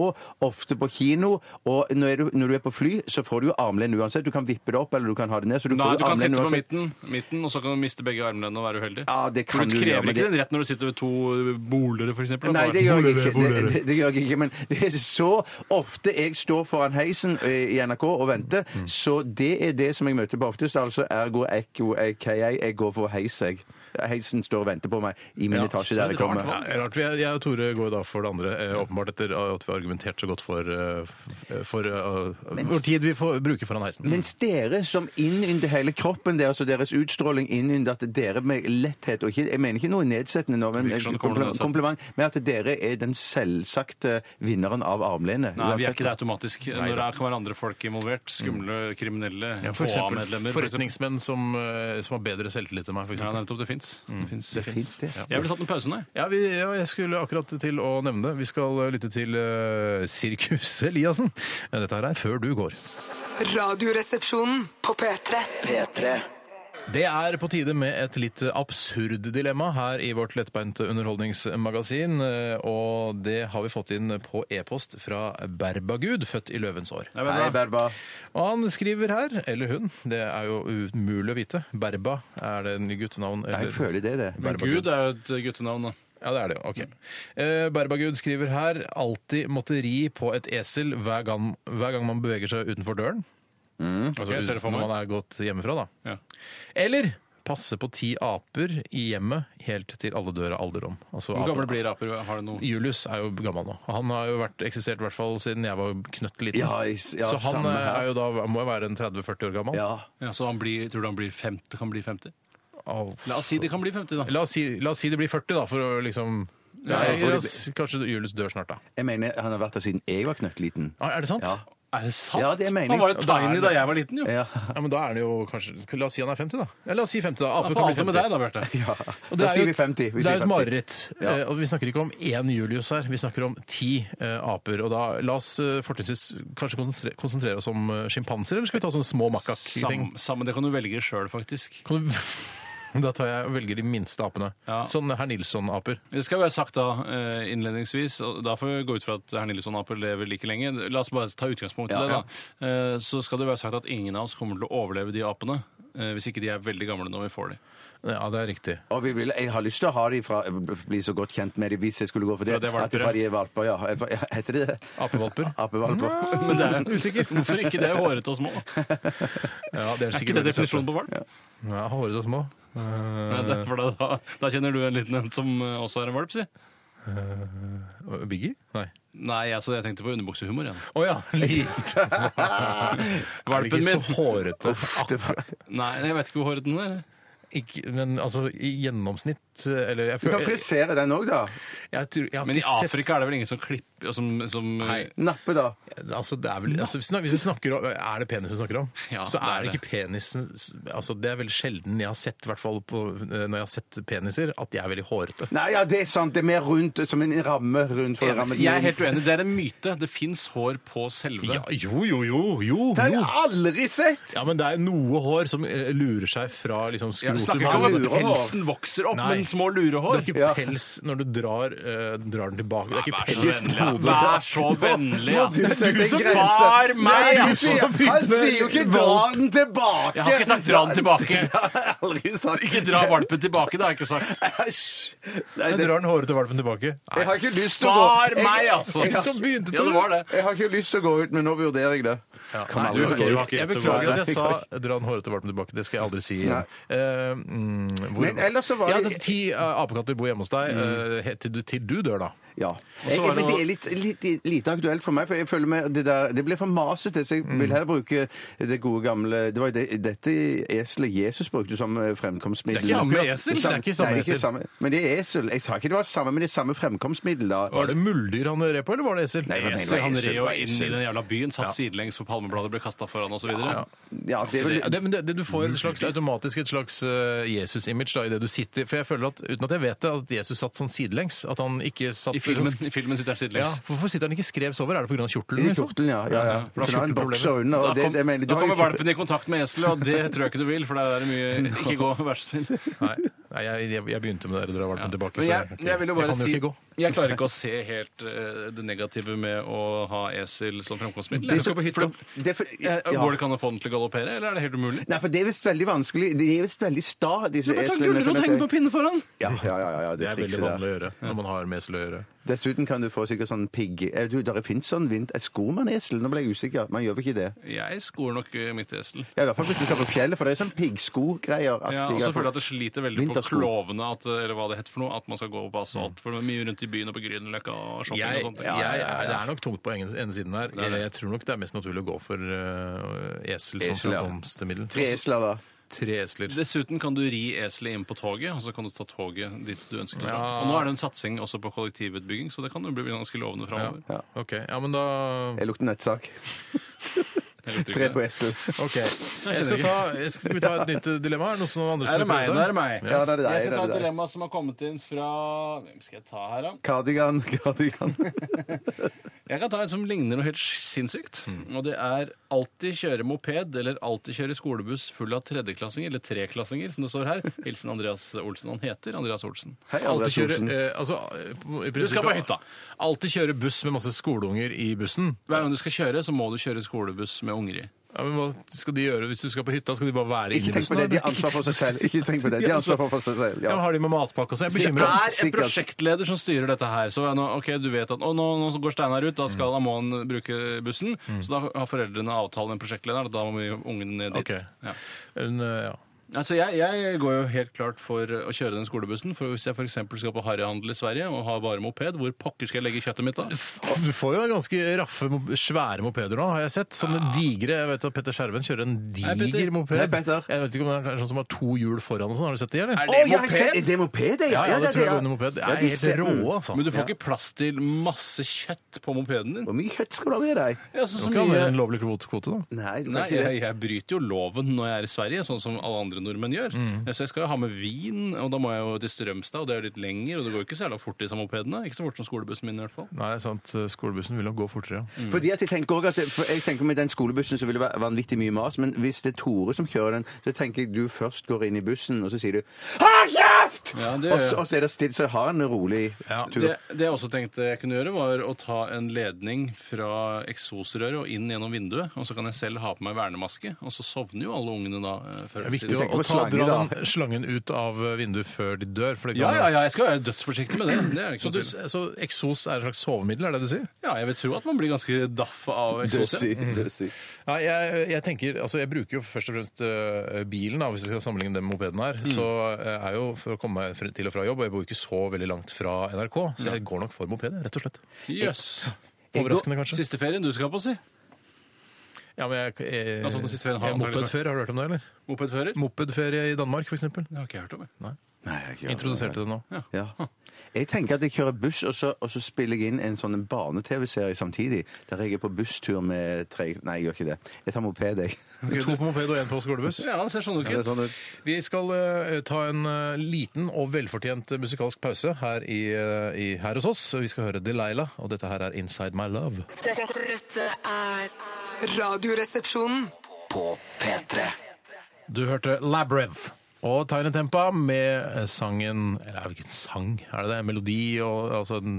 Speaker 5: ofte på kino. Og når du, når du er på fly, så får du jo armlen uansett. Du kan vippe det opp, eller du kan ha det ned. Så du
Speaker 4: Nei,
Speaker 5: får
Speaker 4: du
Speaker 5: jo
Speaker 4: kan
Speaker 5: armlen
Speaker 4: sitte på
Speaker 5: uansett.
Speaker 4: midten, midten, og så kan du miste begge armlenene og være uheldig.
Speaker 5: Ja, det
Speaker 4: For du
Speaker 5: kan du gjøre,
Speaker 4: krever
Speaker 5: men
Speaker 4: ikke
Speaker 5: det-
Speaker 4: den retten når du sitter ved to bolere, f.eks.
Speaker 5: Nei, det gjør jeg ikke. Det, det, det gjør jeg ikke. Men det er så ofte jeg står foran heisen eh, i NRK og venter, så det er det som jeg møter på oftest. Altså ergo ekko KI. Jeg går for heis, jeg. Heisen står og venter på meg i min
Speaker 3: Ja,
Speaker 4: så
Speaker 5: etasje der jeg
Speaker 4: rart
Speaker 5: kommer.
Speaker 3: Ja, rart. Jeg, jeg og Tore går da for det andre, eh, åpenbart etter at vi har argumentert så godt for, eh, f- for eh, hvor tid vi får bruke foran heisen.
Speaker 5: Mens dere som innynder hele kroppen deres og deres utstråling innynder at dere med letthet og ikke, Jeg mener ikke noe nedsettende nå, men
Speaker 4: Virker som det kommer noe
Speaker 5: kompliment, kompliment med at dere er den selvsagte vinneren av armlenet.
Speaker 4: Nei, vi er
Speaker 5: uansett. Mm.
Speaker 4: ikke det automatisk. Når det kan være andre folk involvert, skumle, kriminelle,
Speaker 3: Ja, for eksempel
Speaker 4: HA-medlemmer for eksempel.
Speaker 3: forretningsmenn som, eh, som har bedre selvtillit enn meg. For
Speaker 4: Ja,
Speaker 3: eksempel.
Speaker 4: nettopp. Det fins.
Speaker 5: Mm. Det fins, det.
Speaker 4: Jeg ville tatt en pause nå. jeg.
Speaker 3: ja, vi, ja, jeg skulle akkurat til å nevne det. Vi skal eh, lytte til eh, Sirkus Eliassen. Ja, Dette her er Før du går.
Speaker 6: Radioresepsjonen på P3.
Speaker 2: P3
Speaker 3: Det er på tide med et litt absurd dilemma her i vårt lettbeinte underholdningsmagasin. eh, Og det har vi fått inn på e-post fra Berbagud, født i løvens år.
Speaker 4: Det er
Speaker 5: Hei,
Speaker 4: veldig bra.
Speaker 5: Berba.
Speaker 3: Og han skriver her, eller hun, det er jo umulig å vite. Berba, er det en guttenavn?
Speaker 5: Jeg
Speaker 3: Eller?
Speaker 5: føler det, det.
Speaker 4: Men Gud er jo et guttenavn, da.
Speaker 3: Ja, det er det jo. Ok. Eh, Berbagud skriver her alltid måtte ri på et esel hver gang, hver gang man beveger seg utenfor døren. Altså,
Speaker 4: Mm. jeg ser det for
Speaker 3: når
Speaker 4: meg.
Speaker 3: man er gått hjemmefra, da.
Speaker 4: Ja.
Speaker 3: Eller passe på ti aper i hjemmet helt til alle dør av alderdom. Altså,
Speaker 4: Hvor gamle
Speaker 3: apen-
Speaker 4: blir aper? Har det noe
Speaker 3: Julius er jo gammel nå. Han har jo vært, eksistert i hvert fall siden jeg var knøtt liten.
Speaker 5: Ja, jeg s- ja,
Speaker 3: så han
Speaker 5: samme
Speaker 3: eh,
Speaker 5: her.
Speaker 3: er jo da, må jo være en 30-40 år gammel.
Speaker 5: Ja.
Speaker 4: ja, Så han blir, tror du han blir 50, kan bli 50?
Speaker 3: Av-
Speaker 4: La oss si de kan bli 50, da.
Speaker 3: La, oss si, la oss si det blir 40, da, for å liksom
Speaker 4: Ja, jeg
Speaker 3: Nei, la
Speaker 4: tror det
Speaker 3: oss, Kanskje Julius dør snart, da.
Speaker 5: Jeg mener, han har vært der siden jeg var knøttliten.
Speaker 3: Ah, Er det sant?
Speaker 5: Ja.
Speaker 4: Er det sant?
Speaker 5: Ja, det er meningen.
Speaker 4: Han var jo
Speaker 5: Og da er
Speaker 4: tiny
Speaker 5: det-
Speaker 4: da jeg var liten, jo.
Speaker 5: Ja.
Speaker 3: Ja, men da er det jo kanskje La oss si han er 50, da. Ja, la oss si 50, da. Ape
Speaker 4: På
Speaker 3: kan
Speaker 4: alder
Speaker 3: bli
Speaker 4: med
Speaker 3: 50.
Speaker 4: deg da, Bjarte.
Speaker 5: ja.
Speaker 3: Og
Speaker 5: Da
Speaker 3: er
Speaker 5: sier
Speaker 3: jo
Speaker 5: vi
Speaker 3: et-
Speaker 5: 50. Vi
Speaker 3: det er
Speaker 5: sier
Speaker 3: jo et
Speaker 5: 50.
Speaker 3: mareritt.
Speaker 5: Ja.
Speaker 3: Eh, Og vi snakker ikke om én Julius her, vi snakker om ti eh, aper. Og da la oss eh, fortrinnsvis kanskje konsentrere, konsentrere oss om eh, sjimpanser, eller skal vi ta sånne små makkak-ting?
Speaker 4: Sam, sam, det kan du velge sjøl, faktisk.
Speaker 3: Kan du... Da tar jeg og velger de minste apene.
Speaker 4: Ja.
Speaker 3: Sånn herr Nilsson-aper.
Speaker 4: Det skal jo være sagt da eh, innledningsvis, og da får vi gå ut fra at herr Nilsson-aper lever like lenge. La oss bare ta utgangspunkt i
Speaker 5: Ja,
Speaker 4: det, da. Eh, Så skal det være sagt at ingen av oss kommer til å overleve de apene. eh, Hvis ikke de er veldig gamle når vi får de.
Speaker 3: Ja, det er riktig.
Speaker 5: Og vi vil, jeg har lyst til å ha de fra, bli så godt kjent med de hvis jeg skulle gå for det.
Speaker 4: Fra det valpere.
Speaker 5: at fra de er valper, ja. Eller, ja, Heter det det?
Speaker 3: Apevalper.
Speaker 5: Apevalper.
Speaker 4: Men det er usikker. Hvorfor ikke det er hårete og små? Er
Speaker 3: Ja, det er
Speaker 4: ikke
Speaker 3: sikkert
Speaker 4: det definisjonen på valp?
Speaker 3: Ja, Hårete og små. Eh,
Speaker 4: Nei, det er for da- da, da kjenner du en liten en som eh, også er en valp, si.
Speaker 3: Biggie? Nei.
Speaker 4: Nei, altså, jeg tenkte på underbuksehumor igjen.
Speaker 3: Å ja, lite. Er
Speaker 4: Valpen
Speaker 3: det
Speaker 4: min!
Speaker 3: ikke så hårete.
Speaker 5: Det var-
Speaker 4: Nei, jeg vet ikke hvor hårete den er.
Speaker 3: Ikke, men altså, i gjennomsnitt eh, Eller jeg
Speaker 5: Du kan
Speaker 3: føler jeg,
Speaker 5: frisere den òg, da.
Speaker 3: tror- jeg har
Speaker 4: Men i
Speaker 3: ikke sett
Speaker 4: Afrika er det vel ingen som klipper og som, som eh,
Speaker 3: Nei.
Speaker 5: Nappe, da.
Speaker 3: Altså, det er vel, altså, hvis snak- hvis vi snakker om, er det penis vi snakker om,
Speaker 4: Ja,
Speaker 3: så er det
Speaker 4: det er
Speaker 3: ikke penisen altså, Det er veldig sjelden jeg har sett, i hvert fall på, eh, når jeg har sett peniser, at de er veldig hårete.
Speaker 5: Nei, ja, det er sant. Det er mer rundt, som en ramme rundt for å ramme den
Speaker 4: Jeg er
Speaker 5: inn.
Speaker 4: helt uenig. Det er en myte. Det fins hår på selve
Speaker 3: Ja, jo, jo, jo, jo,
Speaker 5: Det har jeg
Speaker 3: jo.
Speaker 5: aldri sett!
Speaker 3: Ja, men det er noe hår som eh, lurer seg fra liksom,
Speaker 4: Ja, vi
Speaker 3: skrotum
Speaker 4: snakker ikke om at
Speaker 5: lurehår.
Speaker 4: pelsen vokser opp,
Speaker 3: Nei.
Speaker 4: men små
Speaker 3: Det
Speaker 4: lurehår.
Speaker 3: er ikke
Speaker 5: Ja.
Speaker 3: pels når du drar, eh, drar den tilbake. Det er ikke pelsen
Speaker 4: Vær så vennlig, ja. Vær så vennlig, ja.
Speaker 5: Du
Speaker 4: Det er
Speaker 5: setter
Speaker 4: du som
Speaker 5: en grense.
Speaker 4: bar meg!
Speaker 5: Nei,
Speaker 4: ja.
Speaker 5: du sier- han sier jo ikke 'dra den tilbake'!
Speaker 4: Jeg har ikke sagt dra den tilbake.
Speaker 5: Det har jeg aldri sagt.
Speaker 4: Ikke dra valpen tilbake, det har jeg ikke sagt.
Speaker 5: Æsj! Nei,
Speaker 3: Jeg
Speaker 5: det-
Speaker 3: drar den hårete valpen tilbake.
Speaker 5: Jeg har ikke lyst til å gå
Speaker 4: Bar
Speaker 5: Jeg-
Speaker 4: meg, altså!
Speaker 5: jeg-
Speaker 4: Ja,
Speaker 3: Så begynte
Speaker 4: det var det.
Speaker 5: Jeg har ikke lyst til å gå ut, men nå vurderer jeg det. Kan
Speaker 3: Nei,
Speaker 5: aldri
Speaker 3: du, har ikke-
Speaker 5: gå ut.
Speaker 4: du har ikke
Speaker 3: jeg
Speaker 4: rett til å
Speaker 3: beklager
Speaker 4: gå.
Speaker 3: at jeg sa 'dra den hårete valpen tilbake'. Det skal jeg aldri si igjen. Eh, mm, hvor,
Speaker 5: Men ellers så var
Speaker 3: ja,
Speaker 5: det-
Speaker 3: det ti eh, apekatter bor hjemme hos deg eh, helt til, du, til du dør, da.
Speaker 5: Ja.
Speaker 4: så
Speaker 5: Jeg,
Speaker 4: var det
Speaker 5: men
Speaker 4: noe-
Speaker 5: det er litt, litt, lite aktuelt for meg, for jeg føler med det der Det blir for masete, så jeg vil heller bruke det gode gamle Det var jo det, dette eselet Jesus brukte som eh, fremkomstmiddel.
Speaker 3: Det er ikke samme
Speaker 5: Akkurat.
Speaker 3: esel, det er ikke samme
Speaker 5: Nei,
Speaker 3: esel.
Speaker 5: det er ikke samme, men det er esel. Jeg sa ikke det var samme, men det er samme fremkomstmiddel, da.
Speaker 3: Var det muldyr han red på, eller var det esel?
Speaker 5: Nei, det var-
Speaker 4: Esel, han red jo
Speaker 5: Esel,
Speaker 4: inn i
Speaker 5: esel.
Speaker 4: den jævla byen, satt sidelengs på palmebladet, ble kasta foran osv.
Speaker 5: Ja, det er vel,
Speaker 3: Ja, det, men det, det, du får et slags, automatisk et slags eh, Jesus-image da, i det du sitter. For jeg føler at, uten at jeg vet det, at Jesus satt sånn sidelengs. At han ikke satt
Speaker 4: I Filmen, filmen sitter
Speaker 3: Ja,
Speaker 4: tidligst.
Speaker 3: hvorfor sitter han ikke skrevs over? Er det pga. kjortelen?
Speaker 5: I
Speaker 3: Liksom?
Speaker 5: kjortelen, ja. ja, ja. Du
Speaker 4: for da
Speaker 5: kan ha en
Speaker 3: skjorteproblemer.
Speaker 5: bokser under.
Speaker 4: Da,
Speaker 5: og det,
Speaker 4: kom,
Speaker 5: det mener, du
Speaker 4: da
Speaker 5: har jo
Speaker 4: kommer
Speaker 5: kjortel-
Speaker 4: valpen i kontakt med eselet, og det tror jeg ikke du vil. For det er det mye Ikke gå, vær så snill.
Speaker 3: Nei, nei jeg, jeg, jeg begynte med dere, dere har valgt den tilbake.
Speaker 4: Men
Speaker 3: så
Speaker 4: jeg, jeg vil jo bare
Speaker 3: kan
Speaker 4: si
Speaker 3: jo ikke gå.
Speaker 4: Jeg klarer ikke å se helt eh, det negative med å ha esel som fremkomstmiddel.
Speaker 5: Det er så- for det- det er for-
Speaker 4: Ja,
Speaker 5: ja.
Speaker 4: Eh, Går det ikke an å få den til å galoppere, eller er det helt umulig?
Speaker 5: Nei, for det er visst veldig vanskelig. De er visst veldig sta, disse
Speaker 4: Bare ta en
Speaker 5: eslene. som
Speaker 4: gulrot og
Speaker 5: heter-
Speaker 4: henge på pinne foran!
Speaker 5: Ja, ja, ja, ja,
Speaker 3: Det
Speaker 5: det
Speaker 3: er veldig
Speaker 5: trikset
Speaker 3: vanlig
Speaker 5: der.
Speaker 3: å gjøre når man har med esel å gjøre.
Speaker 5: Dessuten kan du få sikkert sånn pigg... Eh, Du, der finnes sånn vint... eh, Skor man esel? Nå ble jeg usikker. Man gjør vel ikke det?
Speaker 4: Jeg skoer nok eh, mitt esel.
Speaker 5: Ja, I hvert fall hvis du skal på fjellet, for det er sånn piggskogreier.
Speaker 4: Ja, og så føler jeg at det sliter veldig på
Speaker 5: Vintersko. Mm.
Speaker 4: klovene, at, eh, eller hva det heter for noe, at man skal gå på asfalt. For det er mye rundt i byen og på Grünerløkka og shopping
Speaker 3: Jeg,
Speaker 4: og sånt.
Speaker 3: jeg, Det er nok tungt på ene ene siden her.
Speaker 4: er det.
Speaker 3: Jeg tror nok det er mest naturlig å gå for eh, esel som
Speaker 5: Esel, ja.
Speaker 3: fremkomstmiddel.
Speaker 5: Tre esler, da.
Speaker 3: Tre esler.
Speaker 4: Dessuten kan du ri eselet inn på toget, og så kan du ta toget dit du ønsker. deg. Og nå er det en satsing også på kollektivutbygging, så det kan jo bli ganske lovende framover.
Speaker 3: Ja. Ok, ja, men da
Speaker 5: Jeg lukter nettsak. Tre på esel.
Speaker 3: Ok. Jeg skal ta, jeg skal, skal vi ta et nytt eh, dilemma? Er det noen som andre som
Speaker 4: Er det meg?
Speaker 3: prøve
Speaker 4: Da
Speaker 3: seg?
Speaker 4: er det meg.
Speaker 5: Ja, det er deg.
Speaker 4: Jeg skal
Speaker 5: det
Speaker 4: ta
Speaker 5: er
Speaker 4: et
Speaker 5: deg.
Speaker 4: dilemma som har kommet inn fra Hvem skal jeg ta her, da?
Speaker 5: Kardigan, kardigan.
Speaker 4: Jeg kan ta et som ligner noe helt sinnssykt.
Speaker 5: Mm.
Speaker 4: Og det er alltid kjøre moped eller alltid kjøre skolebuss full av tredjeklassinger, eller treklassinger, som det står her. Hilsen Andreas Olsen. Han heter Andreas Olsen.
Speaker 5: Hei,
Speaker 3: Alltid
Speaker 5: Andreas
Speaker 3: kjøre,
Speaker 5: Olsen.
Speaker 3: eh, altså, eh, på- i prinsippet-
Speaker 4: skal på hytta.
Speaker 3: Alltid kjøre buss med masse skoleunger i bussen.
Speaker 4: Hver gang du skal kjøre, så må du kjøre skolebuss med unger i.
Speaker 3: Ja, men hva skal de gjøre hvis du skal på hytta? Skal de bare være
Speaker 5: Ikke
Speaker 3: inne i
Speaker 5: tenk
Speaker 3: bussen?
Speaker 5: på det. De
Speaker 3: da?
Speaker 5: har ansvar for seg selv. Ikke tenk på det. De har ansvar for seg selv.
Speaker 3: Ja, men
Speaker 5: Ja.
Speaker 3: har de med matpakke også? Jeg er
Speaker 4: Det
Speaker 3: bekymra.
Speaker 4: er en
Speaker 5: sikkert.
Speaker 4: prosjektleder som styrer dette her. Så er nå, ok, du vet at å, nå, nå går Steinar ut, da skal må han bruke bussen. Så da har foreldrene avtale med prosjektlederen, og da må vi ungen ned dit.
Speaker 3: Ok.
Speaker 4: Ja.
Speaker 3: Hun, eh, ja.
Speaker 4: Altså, jeg, jeg går jo helt klart for å kjøre den skolebussen. For Hvis jeg f.eks. skal på harryhandel i Sverige og har bare moped, hvor pokker skal jeg legge kjøttet mitt da?
Speaker 3: Du får jo ganske raffe, mo- svære mopeder nå, har jeg sett. Sånne digre Jeg vet at Petter Skjerven kjører en diger
Speaker 4: Petter.
Speaker 3: moped.
Speaker 5: Nei, Petter.
Speaker 3: Jeg vet ikke om det er sånn som har to hjul foran og sånn. Har du sett det, eller?
Speaker 4: Er
Speaker 5: Å,
Speaker 4: det
Speaker 5: ja, jeg ser-
Speaker 4: moped?
Speaker 5: det er moped, ja.
Speaker 3: ja, ja, det tror jeg
Speaker 5: ja.
Speaker 3: går under moped. Det
Speaker 5: Ja, Mm.
Speaker 3: er
Speaker 5: de ser-
Speaker 3: helt rå, altså.
Speaker 4: Men du får ikke plass til masse kjøtt på mopeden din.
Speaker 5: Hvor mye kjøtt skal du ha med deg?
Speaker 4: Ja, så, så
Speaker 3: Ikke annet enn
Speaker 4: mye...
Speaker 3: lovlig kvote, kvote, da.
Speaker 5: Nei, du
Speaker 4: Nei,
Speaker 5: kan ikke
Speaker 4: jeg,
Speaker 5: det.
Speaker 4: jeg bryter jo loven når jeg er i Sverige, sånn som alle andre nordmenn gjør. Så jeg skal jo ha med vin, og da må jeg jo til Strømstad, og det er jo litt lenger, og det går jo ikke særlig fort disse mopedene. Ikke så fort som skolebussen min i hvert fall.
Speaker 3: Nei, sant. Skolebussen vil nok gå fortere, ja.
Speaker 5: Fordi at jeg tenker også at det, for jeg tenker med den skolebussen så vil det være vanvittig mye mas, men hvis det er Tore som kjører den, så tenker jeg du først går inn i bussen, og så sier du Hold kjeft!
Speaker 4: Ja, det
Speaker 5: Og så, og så er det stille, så har han en rolig tur.
Speaker 4: Det, det jeg også tenkte jeg kunne gjøre, var å ta en ledning fra eksosrøret og inn gjennom vinduet. Og så kan jeg selv ha på meg vernemaske, og så sovner jo alle ungene da. eh, Før
Speaker 3: Det er
Speaker 4: eller
Speaker 3: viktig
Speaker 4: siden.
Speaker 3: å,
Speaker 5: tenker
Speaker 3: å
Speaker 5: på
Speaker 3: ta,
Speaker 5: slangen,
Speaker 3: dra
Speaker 5: da.
Speaker 3: den slangen ut av vinduet før de dør. For det
Speaker 4: Ja,
Speaker 3: kan-
Speaker 4: ja, ja, jeg skal være dødsforsiktig med det. det er det ikke
Speaker 3: Så,
Speaker 4: noe
Speaker 3: du,
Speaker 4: tvil om.
Speaker 3: så eksos er et slags sovemiddel, er det det du sier?
Speaker 4: ja, jeg vil tro at man blir ganske daff av eksoser.
Speaker 3: Mm.
Speaker 5: dødsig.
Speaker 3: Ja, jeg, jeg tenker, altså jeg bruker jo først og fremst øh, bilen, da, hvis jeg skal sammenligne det med mopeden her. Så øh, er jo for å komme meg fr- til og fra jobb, og jeg bor ikke så veldig langt fra NRK, så jeg går nok for moped, jeg, rett og slett.
Speaker 4: Jøss.
Speaker 3: Overraskende, kanskje.
Speaker 4: Siste ferien du skal på, si.
Speaker 3: Ja, men jeg, jeg, jeg,
Speaker 4: Ja, sånn den siste ferien har antagelig vært.
Speaker 3: mopedferie, har du hørt om det, eller?
Speaker 4: Mopedfører.
Speaker 3: Mopedferie i Danmark, for eksempel.
Speaker 4: Det har ikke jeg hørt om. jeg.
Speaker 5: Nei, jeg gjør
Speaker 3: Introduserte det nå.
Speaker 5: Ja. Jeg tenker at jeg kjører buss, og så, og så spiller jeg inn en sånn barne-TV-serie samtidig. Der jeg er på busstur med tre Nei, jeg gjør ikke det. Jeg tar moped, jeg.
Speaker 3: To på moped og en på skolebuss.
Speaker 4: Ja, han ser sånn ut,
Speaker 5: Det er
Speaker 4: gutt.
Speaker 5: sånn ut.
Speaker 3: Vi skal eh, ta en eh, liten og velfortjent musikalsk pause her, i, eh, i, her hos oss. Vi skal høre Delilah, og dette her er Inside My Love.
Speaker 6: Dette, dette er Radioresepsjonen.
Speaker 2: På P3.
Speaker 3: Du hørte
Speaker 4: sånn
Speaker 3: Labyrinth. Og Tiny Tempa med eh, sangen Eller er det ikke en sang? Er det det? En melodi og altså en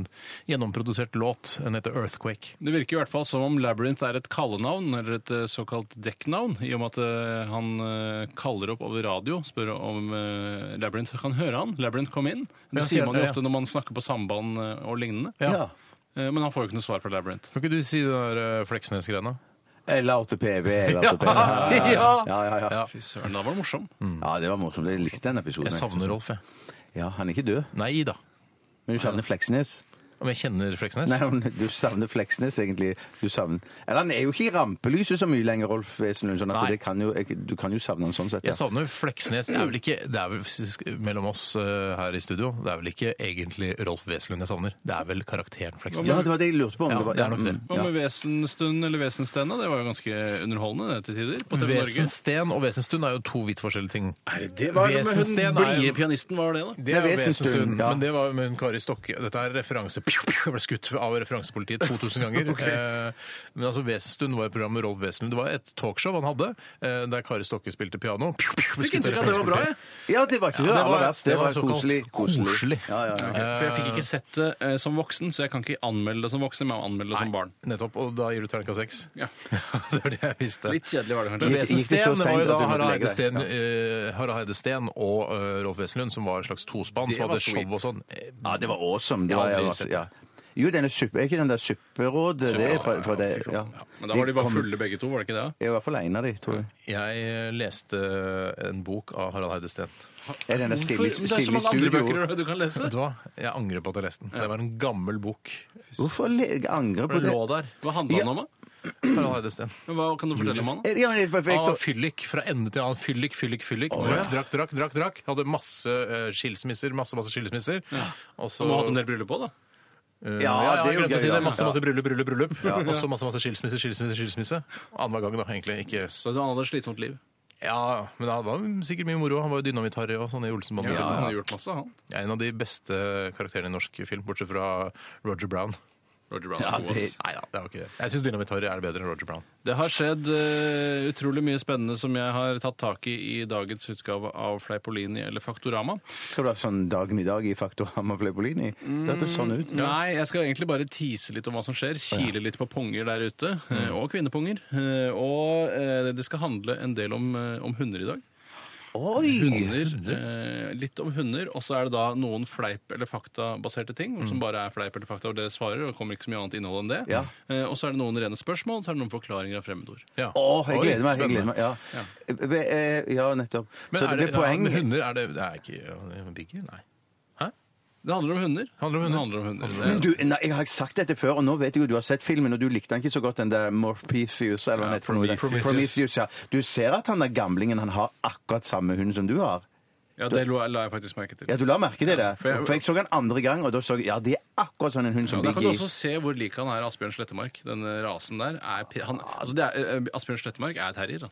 Speaker 3: gjennomprodusert låt. Den heter Earthquake.
Speaker 4: Det virker i hvert fall som om Labyrinth er et kallenavn, eller et eh, såkalt dekknavn, i og med at eh, han eh, kaller opp over radio, spør om eh, Labyrinth kan høre han. Labyrinth kom inn. Det
Speaker 3: Ja, sier
Speaker 4: sier man jo
Speaker 3: det, ja.
Speaker 4: ofte når man snakker på samband eh, og lignende.
Speaker 3: Ja.
Speaker 4: Eh, Men han får jo ikke noe svar fra Labyrinth.
Speaker 3: Kan ikke du si den der eh, Fleksnes-grena?
Speaker 5: Eller 8PV. Eller 8PV. Ja, ja, ja, ja.
Speaker 4: Fy søren, da var det morsom.
Speaker 5: ja, det var morsomt. Jeg likte den episoden.
Speaker 3: Jeg savner Rolf, jeg.
Speaker 5: Ja, Han er ikke død,
Speaker 3: Nei da.
Speaker 5: men du savner Fleksnes.
Speaker 3: Om jeg kjenner Fleksnes?
Speaker 5: Nei, men du savner Fleksnes, egentlig. Du savner Eller han er jo ikke i rampelyset så mye lenger, Rolf Wesenlund, sånn at
Speaker 3: Nei.
Speaker 5: det kan jo, jeg, du kan jo savne han sånn sett.
Speaker 3: Jeg savner Fleksnes. Det er vel ikke det er vel, sk- Mellom oss eh, her i studio, det er vel ikke egentlig Rolf Wesenlund jeg savner. Det er vel karakteren Fleksnes.
Speaker 5: Ja, det var det jeg lurte på. Om
Speaker 3: Ja,
Speaker 5: det, var,
Speaker 3: det er nok det.
Speaker 5: mm,
Speaker 4: Hva med Vesenstund eller Vesenstena? Det var jo ganske underholdende det til tider. På TV Norge.
Speaker 3: Vesensten og Vesenstund er jo to vidt forskjellige ting.
Speaker 4: Det var det med hun
Speaker 3: Vesensten er jo-
Speaker 4: blide pianisten, hva var det, da?
Speaker 3: Det er jo
Speaker 5: Vesenstund,
Speaker 3: Vesenstund,
Speaker 5: ja.
Speaker 3: men det var jo med hun Kari Stokke. Dette er referanse pju, pju, Jeg ble skutt av referansepolitiet 2000 ganger. eh, men altså Vesenstund var et program med Rolf Wesenlund. Det var et talkshow han hadde, eh, der Kari Stokke spilte piano. Pju, pju, ble
Speaker 4: Fikk
Speaker 3: skutt av
Speaker 4: inntrykk av at det var bra, jeg.
Speaker 5: Ja, det var ikke det,
Speaker 3: det var-
Speaker 5: aller verst. Det,
Speaker 3: det var
Speaker 5: var,
Speaker 3: såkalt
Speaker 5: koselig.
Speaker 3: koselig.
Speaker 5: Ja, ja, ja.
Speaker 4: For jeg fikk ikke sett det eh, som voksen, så jeg kan ikke anmelde det som voksen, men jeg anmelde det som barn.
Speaker 3: Nettopp, og da gir du terningkast seks.
Speaker 4: Ja.
Speaker 3: det var det jeg visste.
Speaker 4: Litt kjedelig var det
Speaker 3: Men
Speaker 4: kanskje.
Speaker 5: Litt- gikk det så
Speaker 3: Vesensten
Speaker 5: sent
Speaker 3: var jo
Speaker 5: at
Speaker 3: da
Speaker 5: du måtte
Speaker 3: Harald Eide
Speaker 5: legge deg?
Speaker 3: Steen, eh, Harald Eide Steen og eh, Rolf Wesenlund, som var et slags tospann.
Speaker 4: Det
Speaker 3: Som
Speaker 4: var
Speaker 3: hadde show
Speaker 4: sweet.
Speaker 3: og sånn. Eh,
Speaker 5: Ja, det var awesome. Det
Speaker 3: Jeg har
Speaker 5: var,
Speaker 3: aldri
Speaker 5: jeg var-
Speaker 3: sett det.
Speaker 5: ja. Jo, denne suppe, er ikke den der supperådet? Det er fra, fra det, ja.
Speaker 4: Ja, men da var de bare
Speaker 5: kom-
Speaker 4: fulle begge to, var det ikke det?
Speaker 5: Jeg er i hvert fall en av de, tror jeg.
Speaker 3: Jeg leste en bok av Harald Eide Steen.
Speaker 5: Er den der stille,
Speaker 4: Hvorfor? det er så
Speaker 5: stille
Speaker 4: mange andre
Speaker 5: studio?
Speaker 4: bøker du kan lese.
Speaker 3: Vet du hva? Jeg angrer på at jeg leste den. Det var en gammel bok.
Speaker 5: Hvorfor le- angrer på
Speaker 3: For det lå
Speaker 5: det?
Speaker 3: der.
Speaker 4: Hva handler han om, da?
Speaker 3: Harald Eide Steen.
Speaker 4: Hva kan du fortelle om han? da?
Speaker 5: Ja, men jeg, jeg,
Speaker 4: Ah,
Speaker 3: Han var
Speaker 5: jeg,
Speaker 3: Ah, fyllik fra ende til annen. Fyllik, fyllik, fyllik. Drakk, drakk, drakk. drakk, drakk. Hadde masse eh, skilsmisser. Masse, masse skilsmisser. Og så
Speaker 4: Han må ha hatt en del bryllup òg, da.
Speaker 3: Eh, ja,
Speaker 5: Ja, det er
Speaker 3: jeg
Speaker 5: jo
Speaker 3: glemte å
Speaker 5: gøy,
Speaker 3: si det.
Speaker 5: da.
Speaker 3: Masse,
Speaker 5: Ja.
Speaker 3: masse bryllup, bryllup, bryllup. Og så masse, masse skilsmisse, skilsmisse, skilsmisse. Annenhver gang, da, egentlig. Ikke
Speaker 4: Så han hadde et slitsomt liv.
Speaker 3: Ja, men det var sikkert mye moro. Han var jo dynamitt-Harry og sånn i Olsenbanden.
Speaker 4: Han hadde gjort masse, han.
Speaker 3: En av de beste karakterene i norsk film, bortsett fra Roger Brown.
Speaker 4: Roger Brown.
Speaker 5: Ja,
Speaker 4: god, ass.
Speaker 5: det-
Speaker 3: Nei da, det var ikke det. Jeg syns Dynamitt-Harry er bedre enn Roger Brown.
Speaker 4: Det har skjedd eh, utrolig mye spennende som jeg har tatt tak i i dagens utgave av Fleipolini eller Faktorama.
Speaker 5: skal du ha sånn dagen i dag i Faktorama Fleipolini? Det hørtes sånn ut.
Speaker 4: Mm, Nei, jeg skal egentlig bare tease litt om hva som skjer. Kile litt på ponger der ute. eh,
Speaker 5: Mm.
Speaker 4: Og kvinneponger. Eh, Og eh, det skal handle en del om, eh, om hunder i dag.
Speaker 5: Oi!
Speaker 4: Hunder, eh, litt om hunder, og så er det da noen fleip- eller faktabaserte ting,
Speaker 3: Mm.
Speaker 4: som bare er fleip eller fakta, og dere svarer, og det kommer ikke så mye annet innhold enn det.
Speaker 5: Ja.
Speaker 4: Eh, Og så er det noen rene spørsmål, og så er det noen forklaringer av fremmedord.
Speaker 3: Ja.
Speaker 5: Å, jeg
Speaker 3: Oi,
Speaker 5: gleder meg. jeg
Speaker 3: spennende.
Speaker 5: gleder meg, Ja, Ve- eh, ja nettopp.
Speaker 3: Men
Speaker 5: Så
Speaker 3: er
Speaker 5: det blir poeng.
Speaker 3: Ja, men hunder er det Det er ikke ja, Biggie? Nei.
Speaker 4: Det handler om hunder.
Speaker 3: Handler om hunder.
Speaker 4: Det handler om hunder.
Speaker 5: Men du, nei, jeg har ikke sagt dette før, og nå vet jeg jo du har sett filmen, og du likte den ikke så godt, den der Morpheus, eller hva
Speaker 4: Ja,
Speaker 5: den heter for noe.
Speaker 4: Prometheus.
Speaker 5: Prometheus, ja. Du ser at han der gamlingen, han har akkurat samme hund som du har.
Speaker 4: ja, det la la jeg faktisk merke til.
Speaker 5: Ja, du la merke til det.
Speaker 4: for jeg-
Speaker 5: For jeg så den andre gang, og da så jeg, ja, det er akkurat sånn en hund
Speaker 4: Ja,
Speaker 5: som
Speaker 4: der kan du
Speaker 5: Biggie.
Speaker 4: også se hvor lik han er Asbjørn Slettemark. Den eh, rasen der er, pi- han, altså det er eh, Asbjørn Slettemark er terrier, da.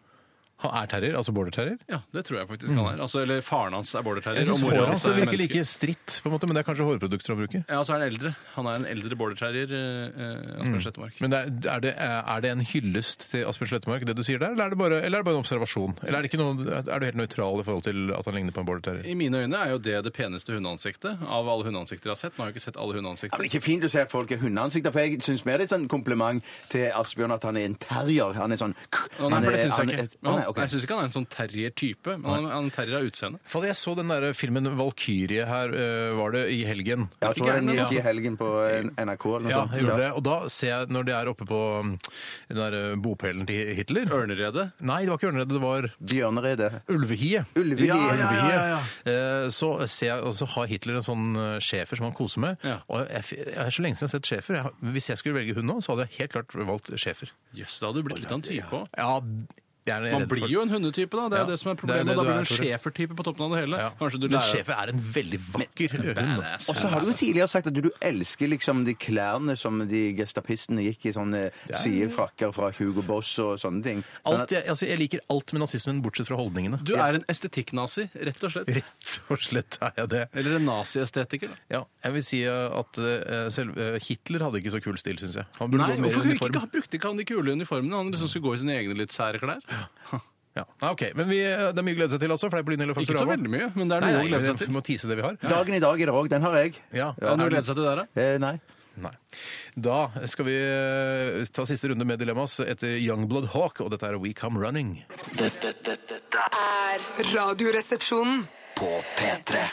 Speaker 3: Han er terrier, altså border-terrier?
Speaker 4: Ja, det tror jeg faktisk han er. Altså, eller faren hans er border terrier.
Speaker 3: Mm. Jeg syns
Speaker 4: og moren
Speaker 3: håret hans
Speaker 4: er
Speaker 3: virker
Speaker 4: menneske.
Speaker 3: like stritt, på en måte, men det er kanskje hårprodukter han bruker.
Speaker 4: Ja, og så er han eldre. Han er en eldre border terrier, eh, eh, Asbjørn Slettemark.
Speaker 3: Mm. Men det er, er, det, er det en hyllest til Asbjørn Slettemark, det du sier der, eller er det bare, eller er det bare en observasjon? Eller er, det ikke noe, er du helt nøytral i forhold til at han ligner på en border-terrier?
Speaker 4: I mine øyne er jo det det peneste hundeansiktet av alle hundeansikter jeg har sett. Nå har jeg ikke sett alle
Speaker 5: Ja, men
Speaker 4: hundeansikter.
Speaker 5: ikke fint å se at folk er hundeansikter, for jeg syns mer det er et sånn kompliment til Asbjørn at han er en terrier. Han er sånn
Speaker 4: Å, Nei, for det syns jeg
Speaker 5: han er-
Speaker 4: ikke. Men han,
Speaker 5: Å, nei, ok.
Speaker 4: nei, Jeg syns ikke han er en sånn terrier-type, men han, han er en terrier av utseende.
Speaker 3: Fader, Jeg så den der filmen 'Valkyrie' her, øh, var det i helgen? altså.
Speaker 5: Jeg tror den
Speaker 4: gærent,
Speaker 5: gikk i helgen på en- NRK eller noe
Speaker 3: Ja,
Speaker 5: sånt.
Speaker 3: jeg gjorde det. Og da ser jeg, når de er oppe på um, den der eh, bopelen til Hitler
Speaker 4: Ørneredet.
Speaker 3: Nei, det var ikke ørneredet, det var
Speaker 5: Bjørneredet.
Speaker 3: ulvehiet.
Speaker 5: Ulvehiet.
Speaker 3: Ja, ja, ja, ja,
Speaker 5: ja.
Speaker 3: Eh, Så, ser jeg, og så har Hitler en sånn eh, schæfer som han koser med.
Speaker 4: Ja.
Speaker 3: Og jeg, f- jeg er så lenge siden jeg har sett schæfer. Jeg, har- hvis jeg skulle velge hund nå, så hadde jeg helt klart valgt schæfer.
Speaker 4: Jøss, da hadde du blitt litt av en type òg.
Speaker 3: Ja, jeg er
Speaker 4: Man
Speaker 3: redd
Speaker 4: blir
Speaker 3: for-
Speaker 4: jo en hundetype, da. Det er
Speaker 3: Ja.
Speaker 4: jo det som er
Speaker 3: Det er det
Speaker 4: problemet.
Speaker 3: du
Speaker 4: da blir
Speaker 3: er,
Speaker 4: du en
Speaker 3: Tore.
Speaker 4: schæfer-type på toppen av det hele.
Speaker 3: ja.
Speaker 4: Kanskje du
Speaker 3: Men
Speaker 4: lærer
Speaker 3: schæfer er en veldig vakker hund. altså.
Speaker 4: Badass.
Speaker 5: Og så har du jo tidligere sagt at du elsker liksom de klærne som de gestapistene gikk i, sånne sidefrakker fra Hugo Boss og sånne ting. Sånn
Speaker 3: Alt, jeg, altså, jeg liker alt med nazismen, bortsett fra holdningene.
Speaker 4: Du er en estetikknazi, rett og slett.
Speaker 3: Rett og slett er jeg det.
Speaker 4: Eller en naziestetiker. da.
Speaker 3: Ja, jeg vil si eh, at eh, selv, eh, Hitler hadde ikke så kul stil, syns jeg. Han burde
Speaker 4: Nei,
Speaker 3: gå mer i
Speaker 4: hvorfor kunne
Speaker 3: uniform.
Speaker 4: ikke, han brukte ikke han de kule uniformene? Han liksom skulle gå i sine egne litt sære klær.
Speaker 3: Ja. Nei, ok, Men vi, eh, det er mye å glede seg til, altså. Fleipolini eller
Speaker 4: Ikke så
Speaker 3: Faktorama?
Speaker 4: veldig mye, men det er
Speaker 3: Nei,
Speaker 4: noe
Speaker 3: nei,
Speaker 4: å glede seg
Speaker 3: vi
Speaker 4: til.
Speaker 3: må tease det vi har.
Speaker 5: at- Dagen i dag er det òg. Den har jeg.
Speaker 3: Ja.
Speaker 4: Er det noe å
Speaker 3: Er det-
Speaker 4: glede seg til der, da?
Speaker 5: Eh, nei.
Speaker 3: Nei. Da skal vi eh, ta siste runde med Dilemmas etter Youngblood Hawk, og dette er We Come Running.
Speaker 2: Dette, dette, dette er
Speaker 6: Er Radioresepsjonen.
Speaker 2: på P3.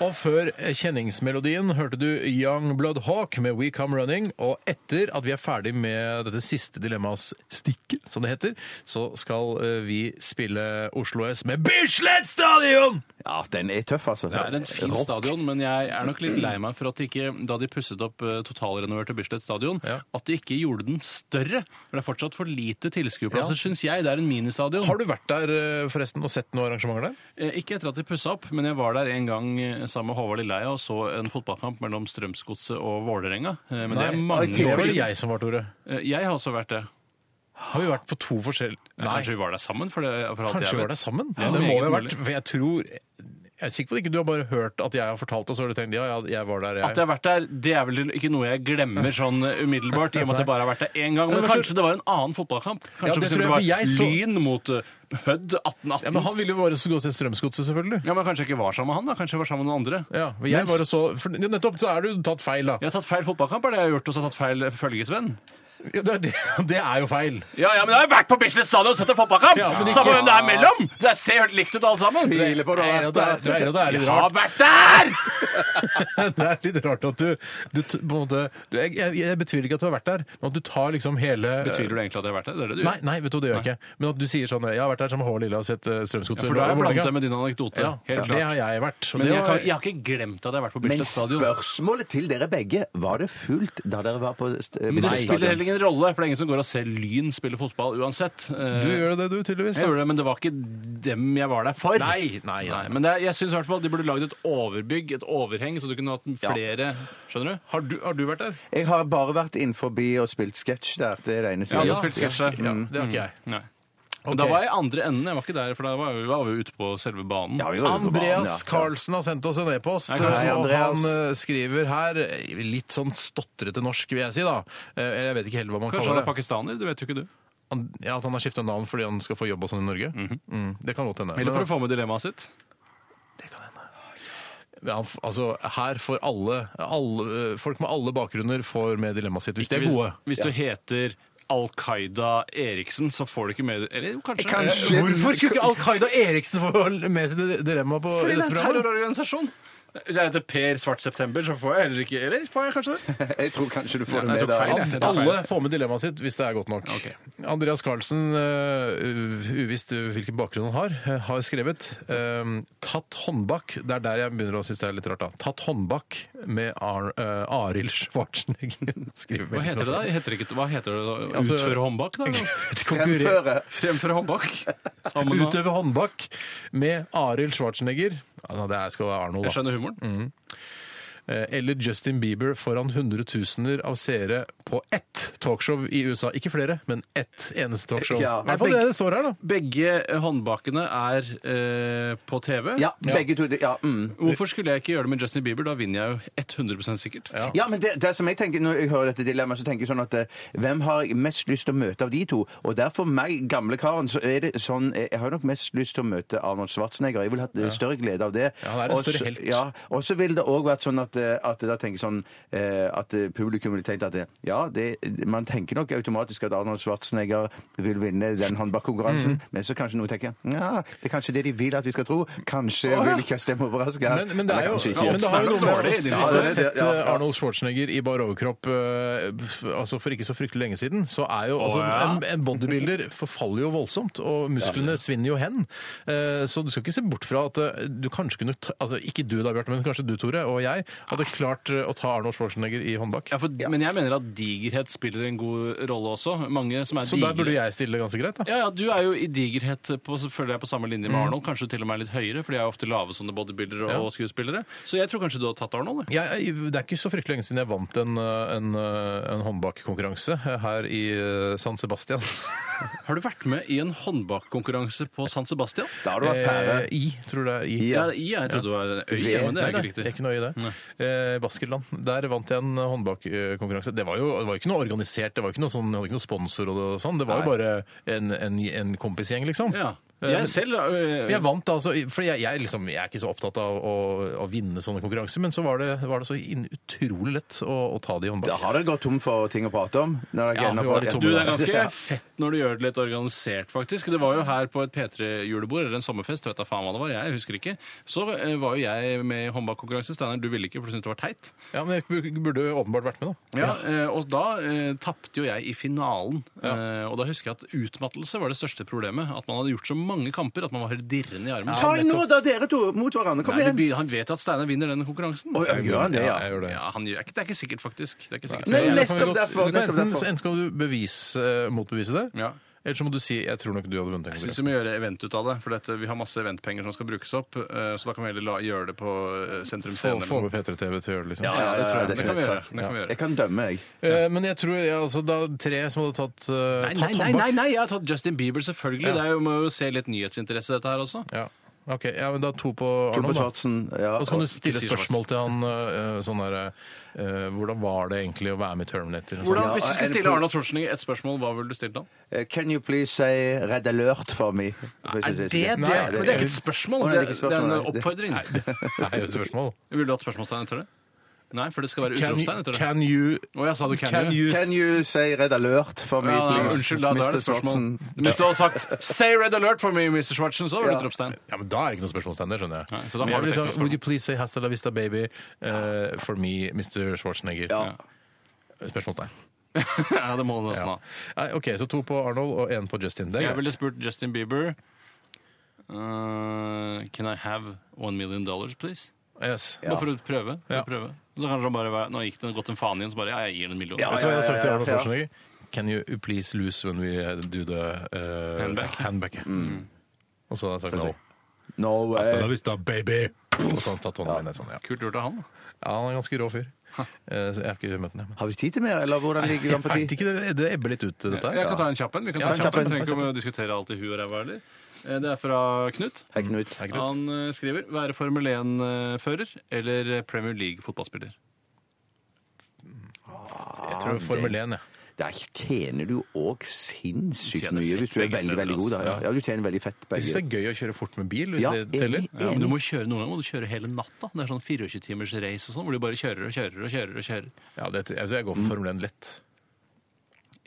Speaker 3: Og før eh, kjenningsmelodien hørte du Young Blood Hawk med We Come Running. Og etter at vi er ferdig med dette siste dilemmas-stikket, som det heter, så skal eh, vi spille Oslo S med Bislett Stadion!
Speaker 5: Ja, den er tøff, altså.
Speaker 4: Det er en fin
Speaker 5: Rock.
Speaker 4: stadion, men jeg er nok litt lei meg for at de ikke, da de pusset opp eh, totalrenoverte Bislett stadion,
Speaker 3: Ja.
Speaker 4: at de ikke gjorde den større. For det er fortsatt for lite tilskuerplasser,
Speaker 3: Ja.
Speaker 4: syns jeg. Det er en ministadion.
Speaker 3: Har du vært der eh, forresten og sett noen arrangementer der?
Speaker 4: Eh, Ikke etter at de pussa opp, men jeg var der en gang eh, sammen med Håvard Lilleheie og så en fotballkamp mellom Strømsgodset og Vålerenga. Eh, Men det er mange
Speaker 3: det var
Speaker 4: år
Speaker 3: det
Speaker 4: siden.
Speaker 3: jeg som var, Tore.
Speaker 4: Eh, Jeg har også vært det.
Speaker 3: Har vi vært på to forskjellige
Speaker 4: Kanskje vi var der sammen? For det, for alt
Speaker 3: Kanskje
Speaker 4: jeg
Speaker 3: vi
Speaker 4: vet.
Speaker 3: var der sammen?
Speaker 4: Ja,
Speaker 3: det
Speaker 4: meget
Speaker 3: må vi ha vært,
Speaker 4: mulig.
Speaker 3: for jeg tror Jeg er sikker på at ikke du har bare hørt at jeg har fortalt det, og så har du tenkt ja, ja, jeg var der,
Speaker 4: At jeg
Speaker 3: jeg.
Speaker 4: har vært der, det er vel ikke noe jeg glemmer sånn eh, umiddelbart, i og med at jeg bare har vært der én gang. Men
Speaker 3: Men hva
Speaker 4: kanskje det var en annen fotballkamp? Kanskje
Speaker 3: Ja, det tror jeg,
Speaker 4: for eksempel
Speaker 3: for jeg så-
Speaker 4: var Lyn mot eh, Hødd 1818?
Speaker 3: Ja, men han ville jo bare så gå og se Strømsgodset, selvfølgelig.
Speaker 4: Ja, men kanskje jeg ikke var sammen med han, da. Kanskje jeg var sammen med noen andre.
Speaker 3: Ja, men jeg
Speaker 4: Mens-
Speaker 3: bare så, for ja, Nettopp så er du tatt feil, da.
Speaker 4: Jeg har tatt feil fotballkamp, er det jeg har gjort, og så har jeg tatt feil eh, følgesvenn.
Speaker 3: Ja, det, er det, det er jo feil.
Speaker 4: Ja, ja, men jeg har vært på Bislett stadion og sett en fotballkamp!
Speaker 3: Ja, men ikke-
Speaker 4: Samme hvem det er mellom! Det ser helt likt ut, alle sammen.
Speaker 5: Tviler på det.
Speaker 3: Jeg er- det er- det er- det er litt
Speaker 4: Jeg
Speaker 3: rart.
Speaker 4: har vært der!
Speaker 3: Det er litt rart at du, du t- på en måte du, jeg, jeg, jeg betviler ikke at du har vært der, men at du tar liksom hele
Speaker 4: Betviler du egentlig at jeg har vært der? Det er det du
Speaker 3: Nei,
Speaker 4: gjør.
Speaker 3: nei, vet du, det gjør jeg ikke. Men at du sier sånn Jeg har vært der som H. Lille og sett eh, Strømsgodset.
Speaker 4: For da har jeg
Speaker 3: Og hvordan-
Speaker 4: blandet deg med din anekdote.
Speaker 3: Ja,
Speaker 4: helt
Speaker 3: det
Speaker 4: klart.
Speaker 3: har jeg vært. Og
Speaker 4: Men
Speaker 3: det
Speaker 4: jeg,
Speaker 3: var-
Speaker 4: kan, jeg har ikke glemt at jeg har vært på
Speaker 5: Men
Speaker 4: Bislett stadion.
Speaker 5: spørsmålet til dere begge var det fullt da dere var på
Speaker 4: Men det
Speaker 5: Bislett
Speaker 4: spiller heller
Speaker 5: Stadion?
Speaker 4: ingen rolle, for det er ingen som går og ser Lyn spille fotball uansett.
Speaker 3: Du
Speaker 4: Eh,
Speaker 3: gjør det, du, tydeligvis.
Speaker 4: Jeg
Speaker 3: da.
Speaker 4: gjorde det, men det var ikke dem jeg var der for.
Speaker 3: Nei, nei, nei.
Speaker 4: Men det, er- jeg syns i hvert fall de burde lagd et overbygg, et overheng, så du kunne hatt flere. Skjønner du?
Speaker 3: Har, du, har du vært der?
Speaker 5: Jeg har bare vært inn forbi og spilt sketsj der. Det er det eneste.
Speaker 4: Ja,
Speaker 5: jeg
Speaker 4: du
Speaker 5: har
Speaker 4: spilte sketsj der.
Speaker 5: Mm.
Speaker 3: Det har ikke jeg.
Speaker 4: Nei. Men Da
Speaker 3: Ok.
Speaker 4: var jeg i andre enden. Jeg var ikke der, for da var, jeg, var vi jo ute på selve banen.
Speaker 5: Ja, vi var jo på banen, ja.
Speaker 3: Andreas Karlsen har sendt oss en e-post,
Speaker 4: Hei,
Speaker 3: og
Speaker 4: Karlsen.
Speaker 3: han
Speaker 5: Andreas.
Speaker 3: eh, skriver her eh, Litt sånn stotrete norsk, vil jeg si, da. Eh, Eller jeg vet ikke heller hva man
Speaker 4: Kanskje han
Speaker 3: kaller
Speaker 4: er
Speaker 3: det.
Speaker 4: pakistaner? Det vet jo ikke du.
Speaker 3: Han- Ja, At han har skifta navn fordi han skal få jobb og sånn i Norge? Mm, det kan godt hende.
Speaker 4: Mhm. Eller for
Speaker 3: Men-
Speaker 4: å få med dilemmaet sitt.
Speaker 3: Ja, han f- altså, her får alle, alle eh, Folk med alle bakgrunner får med dilemmaet sitt, hvis de er
Speaker 4: Hvis-
Speaker 3: gode.
Speaker 4: Hvis du heter Al Qaida Eriksen, så får du ikke med Eller jo, kanskje.
Speaker 5: Kanskje-
Speaker 3: Hvorfor skulle ikke Al Qaida Eriksen få med sitt dilemma på
Speaker 4: Fordi det
Speaker 3: dette
Speaker 4: er en
Speaker 3: programmet?
Speaker 4: terrororganisasjon. Hvis jeg heter Per Svart September, så får jeg heller ikke Eller får jeg kanskje det?
Speaker 5: Jeg tror kanskje du
Speaker 4: Ja,
Speaker 5: får det
Speaker 4: jeg
Speaker 5: med
Speaker 4: tok feil,
Speaker 5: deg.
Speaker 4: jeg.
Speaker 3: Al- Alle får med dilemmaet sitt hvis det er godt nok. Andreas Carlsen, eh, u- uvisst hvilken bakgrunn han har, eh, har skrevet eh, Tatt håndbak. Det er der jeg begynner å synes det er litt rart, da. Tatt håndbak med Ar eh, Arild Schwarzenegger. Skriver
Speaker 4: Hva
Speaker 3: veldig
Speaker 4: heter det da?
Speaker 3: flott.
Speaker 4: Heter det ikke, hva heter det da?
Speaker 3: Altså-
Speaker 4: Utføre håndbak, da?
Speaker 3: Konkurrer-
Speaker 5: Fremføre.
Speaker 4: Fremføre håndbak? Sammen med-
Speaker 3: Utøve håndbak med Arild Schwarzenegger. Ja, det er- skal være Arnold, da.
Speaker 4: Jeg skjønner humoren.
Speaker 3: Eh, eller Justin Bieber foran hundretusener av seere på ett talkshow i USA. Ikke flere, men ett eneste talkshow.
Speaker 5: Ja.
Speaker 3: I hvert fall det det står her, da.
Speaker 4: Begge eh, håndbakene er eh, på TV.
Speaker 5: Ja, begge to. det- Ja, mm.
Speaker 4: Hvorfor skulle jeg ikke gjøre det med Justin Bieber? Da vinner jeg jo 100 sikkert.
Speaker 5: Ja, men det, det som jeg tenker Når jeg hører dette dilemmaet, så tenker jeg sånn at eh, hvem har jeg mest lyst til å møte av de to? Og der for meg, gamle karen, så er det sånn eh, Jeg har nok mest lyst til å møte Arnold Schwarzenegger. Jeg vil ha eh, større glede av det.
Speaker 3: Ja, han er en
Speaker 5: Og så-
Speaker 3: større helt.
Speaker 5: Ja, og så vil det òg vært sånn at, eh, at jeg da tenker sånn eh, at eh, publikum vil tenke at eh, ja, det, man tenker nok automatisk at Arnold Schwarzenegger vil vinne den
Speaker 3: Mm.
Speaker 5: håndbakkonkurransen, men så kanskje noen tenker ja, det er kanskje det de vil at vi skal tro. Kanskje vil ikke Tjøstheim overraske her.
Speaker 3: Men, men det er
Speaker 5: Eller
Speaker 3: jo
Speaker 5: kanskje ikke.
Speaker 3: ja, men det har jo noe med
Speaker 4: Dårlig,
Speaker 3: oss. Hvis
Speaker 4: det
Speaker 3: du
Speaker 4: er
Speaker 3: har
Speaker 5: det,
Speaker 3: sett
Speaker 5: ja,
Speaker 3: eh,
Speaker 5: ja.
Speaker 3: Arnold Schwarzenegger i bar overkropp eh, f- altså for ikke så fryktelig lenge siden, så er jo altså,
Speaker 4: ja.
Speaker 3: en, en bodybuilder forfaller jo voldsomt, og musklene svinner jo hen. Eh, Så du skal ikke se bort fra at eh, du kanskje kunne ta, altså Ikke du da, Bjarte, men kanskje du, Tore, og jeg hadde klart eh, å ta Arnold Schwarzenegger i håndbak.
Speaker 4: Ja, for, Men jeg mener at digerhet spiller en god rolle også. Mange som er
Speaker 3: Så der burde
Speaker 4: digre.
Speaker 3: jeg stille ganske greit, da.
Speaker 4: Ja, ja, Du er jo i digerhet på, så føler jeg på samme linje med Arnold. Kanskje du til og med er litt høyere, for de er jo ofte lave sånne bodybuildere og skuespillere. Så jeg tror kanskje du har tatt Arnold. jeg.
Speaker 3: Jeg, jeg- det er ikke så fryktelig lenge siden jeg vant en, eh, en, eh, en håndbakkonkurranse her i eh, San Sebastian.
Speaker 4: Har du vært med i en håndbakkonkurranse på San Sebastian?
Speaker 5: Da har du vært pære.
Speaker 3: Eh, I, tror det er I.
Speaker 4: Ja, i, jeg trodde det var en øy,
Speaker 5: Ved-
Speaker 3: Nei,
Speaker 4: men det er ikke
Speaker 3: nei, det er
Speaker 4: riktig.
Speaker 3: ikke noe i det. Eh, Baskerland. Der vant jeg en eh, håndbakkonkurranse. Det var jo det var jo ikke noe organisert, det var ikke noe sånn, jeg hadde ikke noe sponsor og det- og sånn. Det var jo bare en, en, en kompisgjeng, liksom.
Speaker 4: Ja.
Speaker 3: Eh, men-
Speaker 4: Jeg selv øh,
Speaker 3: Men Jeg vant altså, for jeg, jeg, liksom, jeg er ikke så opptatt av å, å vinne sånne konkurranser, men så var det, var det så inn, utrolig lett å, å ta det i håndbak.
Speaker 5: Da har dere gått tom for ting å prate om. Når dere
Speaker 3: Ja,
Speaker 5: ender
Speaker 3: vi
Speaker 5: på-
Speaker 3: var litt
Speaker 4: Du,
Speaker 3: tomme
Speaker 4: Det er ganske
Speaker 5: Ja.
Speaker 4: fett når du gjør det litt organisert, faktisk. Det var jo her på et P3-julebord, eller en sommerfest, vet da faen hva det var, jeg husker ikke. Så eh, var jo jeg med i håndbakkonkurranse. Steinar, du ville ikke, for du syntes det var teit.
Speaker 3: Ja, men jeg burde jo åpenbart vært med, da.
Speaker 4: Ja, eh, Og da eh, tapte jo jeg i finalen. Eh, og da husker jeg at utmattelse var det største problemet. At man hadde gjort så mange kamper at man var helt dirrende i armen.
Speaker 5: Ta i nå, da, dere to, mot hverandre. Kom
Speaker 4: Nei, det
Speaker 5: igjen.
Speaker 4: blir- han vet jo at Steinar vinner den konkurransen.
Speaker 5: Oi, oi, gjør han det, ja.
Speaker 3: jeg gjør det.
Speaker 4: Ja, han, gjør- det er ikke sikkert, faktisk. Det er ikke sikkert.
Speaker 5: Nei,
Speaker 3: Ja, da
Speaker 5: nei.
Speaker 3: kan vi
Speaker 5: nettopp
Speaker 3: godt-
Speaker 5: derfor,
Speaker 3: du kan
Speaker 5: nettopp
Speaker 3: enten,
Speaker 5: derfor.
Speaker 3: så enten skal du bevise, eh, motbevise det,
Speaker 4: Ja.
Speaker 3: eller så må du si 'jeg tror nok du hadde vunnet'.
Speaker 4: Jeg syns
Speaker 3: den
Speaker 4: vi må gjøre event ut av det, for dette, vi har masse eventpenger som skal brukes opp. eh, Så da kan vi heller la, gjøre det på eh, Sentrum
Speaker 3: konkurransen». Få,
Speaker 4: Scene. eller
Speaker 3: få
Speaker 4: noe
Speaker 3: med
Speaker 4: sånt.
Speaker 3: P3 TV til å gjøre det, liksom.
Speaker 4: Ja, ja, det tror jeg. Det kan vi gjøre.
Speaker 5: sant.
Speaker 4: Det kan vi gjøre.
Speaker 5: Jeg kan dømme, jeg.
Speaker 3: Eh, men jeg tror ja, altså, da tre som hadde tatt, eh,
Speaker 4: Nei,
Speaker 3: tatt
Speaker 4: nei, nei,
Speaker 3: håndbak
Speaker 4: nei, nei, jeg har tatt Justin Bieber, selvfølgelig.
Speaker 3: Ja.
Speaker 4: Det er jo, må jo se litt nyhetsinteresse, dette her også.
Speaker 3: Ja. Ok, ja, men da to på
Speaker 5: Tror på
Speaker 3: Arnold, da.
Speaker 5: Schwarzen. Ja.
Speaker 3: Og så kan du stille
Speaker 4: sier
Speaker 3: spørsmål til han øh, sånn der øh, Hvordan var det egentlig å være med i Terminator? Og sånn.
Speaker 4: Hvordan, hvis du
Speaker 5: Ja,
Speaker 4: skulle
Speaker 5: en
Speaker 4: stille
Speaker 5: pro-
Speaker 4: Arnold Schwarzenegger et spørsmål, hva ville du stilt han?
Speaker 5: Eh, Can you please say Red Alert for me?
Speaker 4: Er det det?
Speaker 5: Nei,
Speaker 4: Men Det er ikke et
Speaker 5: Å,
Speaker 4: spørsmål, det er,
Speaker 5: nei, det er ikke
Speaker 4: det
Speaker 5: et
Speaker 4: er
Speaker 5: spørsmål,
Speaker 4: en
Speaker 5: nei.
Speaker 4: oppfordring.
Speaker 3: Nei, det er et spørsmål.
Speaker 4: Vil du ha et spørsmålstegn etter det? Nei, for det skal være
Speaker 3: Can,
Speaker 4: utropstegn etter det.
Speaker 3: can you
Speaker 4: Å, jeg sa du can,
Speaker 3: Can
Speaker 4: you.
Speaker 3: you,
Speaker 5: Can you say Red Alert for me,
Speaker 4: Ja, nei,
Speaker 5: please?
Speaker 4: unnskyld, da, da er det
Speaker 5: Mr.
Speaker 4: et spørsmål.
Speaker 5: Schwarzen?
Speaker 4: Men Hvis du hadde sagt 'Say red alert for me, Mr. Schwartzen', så var det
Speaker 5: Ja.
Speaker 4: utropstegn.
Speaker 3: Ja, men Da er det ikke noe spørsmålstegn, det skjønner jeg.
Speaker 4: Nei, så da
Speaker 3: Men
Speaker 4: har
Speaker 3: jeg
Speaker 4: du
Speaker 3: vil
Speaker 4: tenkt
Speaker 3: si,
Speaker 4: å spørre.
Speaker 3: Would you please say hasta la vista baby eh, for me, Mr. Schwarzenegger? Eh,
Speaker 5: Ja.
Speaker 3: Spørsmålstegn.
Speaker 4: Ja, det må du nesten
Speaker 3: Ja.
Speaker 4: ha.
Speaker 3: Nei, OK, så to på Arnold og én på Justin. Det er
Speaker 4: Jeg ville
Speaker 3: greit.
Speaker 4: spurt Justin Bieber eh, Can I have one million dollars, please?
Speaker 3: Yes.
Speaker 5: Ja.
Speaker 4: Bare for å prøve. For
Speaker 3: Ja.
Speaker 4: å prøve. Så kanskje han bare var- Nå gikk det gått en faen igjen, så bare Ja, jeg gir den en million.
Speaker 5: Ja,
Speaker 3: Vet du hva jeg har sagt til
Speaker 5: ja, ja,
Speaker 3: Arnold
Speaker 5: ja.
Speaker 3: Schwarzenegger? Can you please lose when we do the eh,
Speaker 4: Handback.
Speaker 3: handback?
Speaker 5: Mm.
Speaker 4: Mm.
Speaker 3: Og så har jeg sagt no.
Speaker 5: No
Speaker 3: Hasta la
Speaker 5: way.
Speaker 3: vista baby! Og så har han tatt hånda mi ned sånn. Ja.
Speaker 4: Kult gjort av han. da.
Speaker 3: ja, han er en ganske rå fyr. Eh, så Jeg har ikke møtt ham, men
Speaker 5: Har vi tid til mer, eller hvordan ligger vi an på
Speaker 3: Nei,
Speaker 5: tid?
Speaker 3: det, det ebber litt ut, dette her.
Speaker 4: Jeg kan ta en kjapp en. Vi kan
Speaker 3: Ja,
Speaker 4: ta
Speaker 3: ta en kjapp
Speaker 4: en kjapp en.
Speaker 3: en,
Speaker 4: Trenger
Speaker 3: ta en
Speaker 4: ikke å diskutere alt i huet og ræva heller. Eh, Det er fra Knut.
Speaker 5: Hei, Knut.
Speaker 4: Han eh, skriver 'Være Formel 1-fører eller Premier League-fotballspiller'.
Speaker 3: Jeg tror Formel 1, jeg.
Speaker 5: Der tjener du òg sinnssykt
Speaker 4: Tjener fett
Speaker 5: mye hvis du er
Speaker 4: begge
Speaker 5: veldig,
Speaker 4: steder,
Speaker 5: veldig god. Da. Ja,
Speaker 4: altså.
Speaker 5: ja, du tjener veldig fett
Speaker 3: Jeg syns det er
Speaker 5: begge.
Speaker 3: gøy å kjøre fort med bil, hvis
Speaker 5: Ja,
Speaker 3: det teller.
Speaker 5: enig.
Speaker 4: Ja, men du må kjøre noen ganger må du kjøre hele natta. Det er sånn 24-timers race og sånn, hvor du bare kjører og kjører og kjører. og kjører.
Speaker 3: Ja, det, jeg, jeg
Speaker 5: Mm.
Speaker 3: går for Formel 1 lett.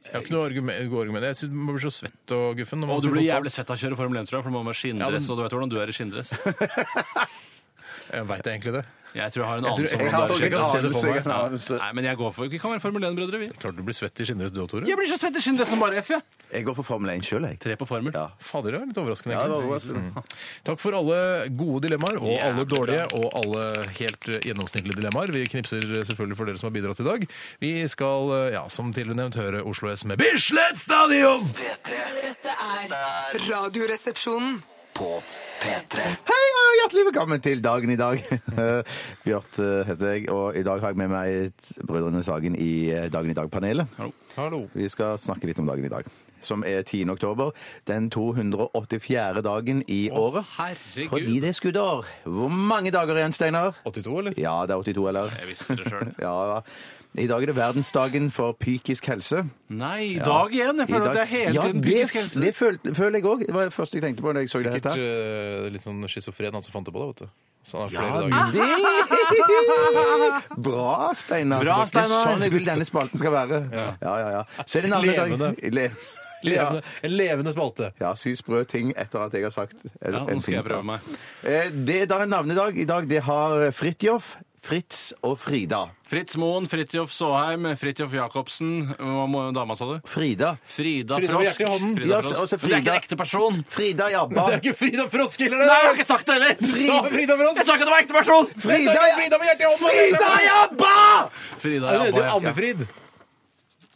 Speaker 3: Jeg har ikke noe argument. gode argument. Jeg synes Man blir så svett og guffen. når man
Speaker 4: Og du
Speaker 3: spiller
Speaker 4: blir
Speaker 3: fotball.
Speaker 4: jævlig svett av å kjøre Formel 1, tror jeg, for du må med skinndress, og du vet hvordan du er i skinndress.
Speaker 3: Jeg veit egentlig det.
Speaker 4: Jeg tror jeg har en
Speaker 3: Jeg tror-
Speaker 4: anelse om
Speaker 3: jeg
Speaker 4: hvordan
Speaker 3: har
Speaker 4: det er i
Speaker 3: ikke
Speaker 4: skinndress.
Speaker 3: anelse.
Speaker 5: jeg har en anelse.
Speaker 4: Nei, men jeg går for Vi kan være Formel 1-brødre, vi.
Speaker 3: Klart du blir svett i skinndress du òg, Tore.
Speaker 4: Jeg blir så svett i skinndress som bare F, jeg.
Speaker 5: Jeg går for Formel 1 sjøl, jeg.
Speaker 4: Tre på formel.
Speaker 5: Ja.
Speaker 3: Fader, det var litt overraskende.
Speaker 5: Ja, det var
Speaker 3: egentlig.
Speaker 4: Mm.
Speaker 5: overraskende.
Speaker 3: Takk for alle gode dilemmaer, og
Speaker 4: Jævlig
Speaker 3: alle dårlige, og alle helt eh, gjennomsnittlige dilemmaer. Vi knipser selvfølgelig for dere som har bidratt i dag. Vi skal, eh, ja, som tidligere nevnt, høre Oslo S med Bislett Stadion!
Speaker 6: Dette er Radioresepsjonen.
Speaker 2: På P3
Speaker 5: Hei og hjertelig velkommen til dagen i dag. Bjarte eh, heter jeg, og i dag har jeg med meg Brødrene Sagen i eh, Dagen i dag-panelet.
Speaker 3: Hallo.
Speaker 5: Vi skal snakke litt om dagen i dag, som er 10. oktober. Den 284. dagen i året.
Speaker 4: herregud.
Speaker 5: Fordi det er skuddår. Hvor mange dager igjen, Steinar?
Speaker 3: 82, eller?
Speaker 5: Ja, det er 82, eller?
Speaker 4: Jeg visste det sjøl.
Speaker 5: Ja, ja. I dag er det verdensdagen for psykisk helse.
Speaker 4: Nei, i dag igjen! Jeg føler
Speaker 5: I
Speaker 4: at det er
Speaker 5: dag-
Speaker 4: hele
Speaker 5: Ja,
Speaker 4: tiden
Speaker 5: det-
Speaker 4: psykisk helse.
Speaker 5: Det følte- føler jeg òg. Det var det første jeg tenkte på da jeg så det
Speaker 3: Sikkert
Speaker 5: dette. her.
Speaker 3: eh, litt sånn schizofren han som fant det på det, vet du. Så han har flere
Speaker 5: Ja,
Speaker 3: dager.
Speaker 5: det Bra, Steinar.
Speaker 4: Bra,
Speaker 5: Det er
Speaker 4: Steinar.
Speaker 5: Sånn jeg vil denne spalten skal være. Ja, ja, ja. Så er det en annen
Speaker 3: Levende.
Speaker 5: dag. Le ja.
Speaker 3: Levende, En levende spalte.
Speaker 5: ja, si sprø ting etter at jeg har sagt en-
Speaker 4: Ja,
Speaker 5: en
Speaker 4: nå skal jeg
Speaker 5: ting.
Speaker 4: prøve meg.
Speaker 5: Eh, Det er da en navnedag. I dag det har Fridtjof, Fritz og Frida.
Speaker 4: Fritz Moen, Fridtjof Såheim, Fridtjof Jacobsen Hva må dama, sa du?
Speaker 5: Frida.
Speaker 4: Frida
Speaker 3: Frida med
Speaker 4: Frosk.
Speaker 3: hjertet i hånden.
Speaker 5: Ja,
Speaker 4: Frida Frosk.
Speaker 5: også
Speaker 4: Men det er ikke
Speaker 5: Frida.
Speaker 4: en ekte person!
Speaker 5: Frida Jabba.
Speaker 3: Det er ikke Frida Frosk heller,
Speaker 4: Nei, jeg har
Speaker 3: det!
Speaker 4: ikke sagt det heller!
Speaker 3: Sa Frida Frosk!
Speaker 4: Jeg sa ikke at det var ekte person!
Speaker 5: Frida,
Speaker 3: Frida, Frida med hjertet i hånden!
Speaker 5: Frida Jabba!
Speaker 4: Frida
Speaker 3: Ja, det
Speaker 4: Jabba,
Speaker 3: heter jo
Speaker 4: ja.
Speaker 3: Anne-Frid.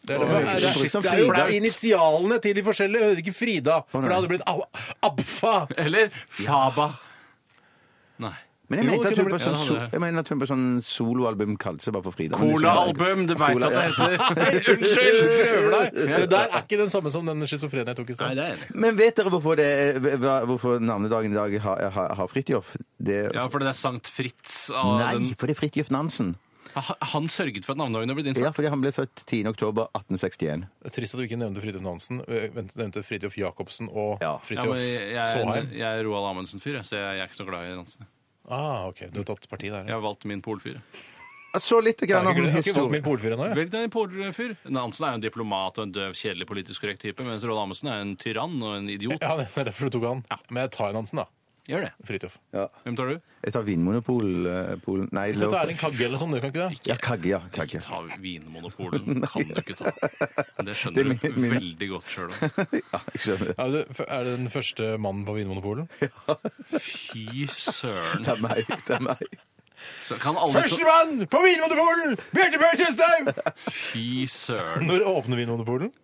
Speaker 3: Det er, det,
Speaker 5: Å,
Speaker 3: er, det,
Speaker 5: shit,
Speaker 3: er,
Speaker 5: det er
Speaker 3: jo
Speaker 5: flaut.
Speaker 3: initialene til de forskjellige, det heter ikke Frida. For det hadde blitt Au- Abfa.
Speaker 4: Eller Faba. Nei.
Speaker 5: Men jeg
Speaker 3: Jo,
Speaker 5: mente
Speaker 3: det
Speaker 5: at hun
Speaker 3: kunne
Speaker 5: på
Speaker 3: blitt-
Speaker 5: sånn,
Speaker 4: Ja, det
Speaker 5: so
Speaker 4: hadde jeg.
Speaker 5: jeg mener at hun på sånn soloalbum kalte seg bare for Frida. men det sier jeg ikke.
Speaker 4: Cola-album, du veit
Speaker 5: Cola,
Speaker 4: at det
Speaker 5: ja.
Speaker 4: heter Unnskyld!
Speaker 3: Prøver deg. Det der er ikke den samme som den schizofrene jeg tok i
Speaker 4: Nei,
Speaker 3: stad.
Speaker 4: det er enig.
Speaker 5: Men vet dere hvorfor, det, hva- hvorfor navnedagen i dag har, har, har Fridtjof? Det,
Speaker 4: Ja, for det er Sankt Fritz av
Speaker 5: nei,
Speaker 4: den
Speaker 5: for det er Fridtjof Nansen.
Speaker 4: Ha- Han sørget for at navnedagen ble din.
Speaker 5: Ja, fordi han ble født 10. oktober 1861.
Speaker 3: Trist at du ikke nevnte Fridtjof Nansen. Eh, vent, Nevnte Fridtjof Jacobsen og
Speaker 5: Ja.
Speaker 4: Ja,
Speaker 3: Fridtjof
Speaker 4: men jeg, jeg,
Speaker 3: Såheim.
Speaker 4: jeg er Roald Amundsen-fyr, jeg, så jeg er ikke så glad i Nansen.
Speaker 3: Ah, ok, Du har tatt parti der.
Speaker 4: Jeg
Speaker 3: Ja.
Speaker 4: har valgt min polfyr.
Speaker 5: Så litt
Speaker 3: Jeg
Speaker 5: grann
Speaker 3: har
Speaker 5: om
Speaker 3: ikke- jeg har ikke valgt min
Speaker 5: historien.
Speaker 3: polfyr ennå. jeg.
Speaker 4: Velg deg en polfyr. Nansen er jo en diplomat og en døv, kjedelig politisk korrekt type, mens Roald Amundsen er en tyrann og en idiot.
Speaker 3: Ja, det er derfor du tok han. Men jeg tar Nansen, da.
Speaker 4: Gjør det.
Speaker 3: Fridtjof.
Speaker 5: Ja.
Speaker 4: Hvem tar du?
Speaker 5: Jeg tar Vinmonopol eh, Polen. Nei,
Speaker 3: Du kan ta
Speaker 5: lov-
Speaker 3: Erling Kagge eller sånn, du kan ikke det?
Speaker 5: Ja, Kagge, ja. Kagge.
Speaker 4: Ta Vinmonopolet kan du ikke ta. Det
Speaker 5: Det
Speaker 4: skjønner
Speaker 5: er
Speaker 4: du
Speaker 5: min- min-
Speaker 4: veldig godt sjøl òg.
Speaker 5: Ja, jeg skjønner.
Speaker 3: Er du, er du den første mannen på Vinmonopolet?
Speaker 4: Fy søren.
Speaker 5: Det er meg. Det er meg.
Speaker 4: Så Kan alle så
Speaker 3: Førstemann på Vinmonopolet! Bjarte Bjørn Tjøstheim!
Speaker 4: Fy søren.
Speaker 3: Når åpner Vinmonopolet?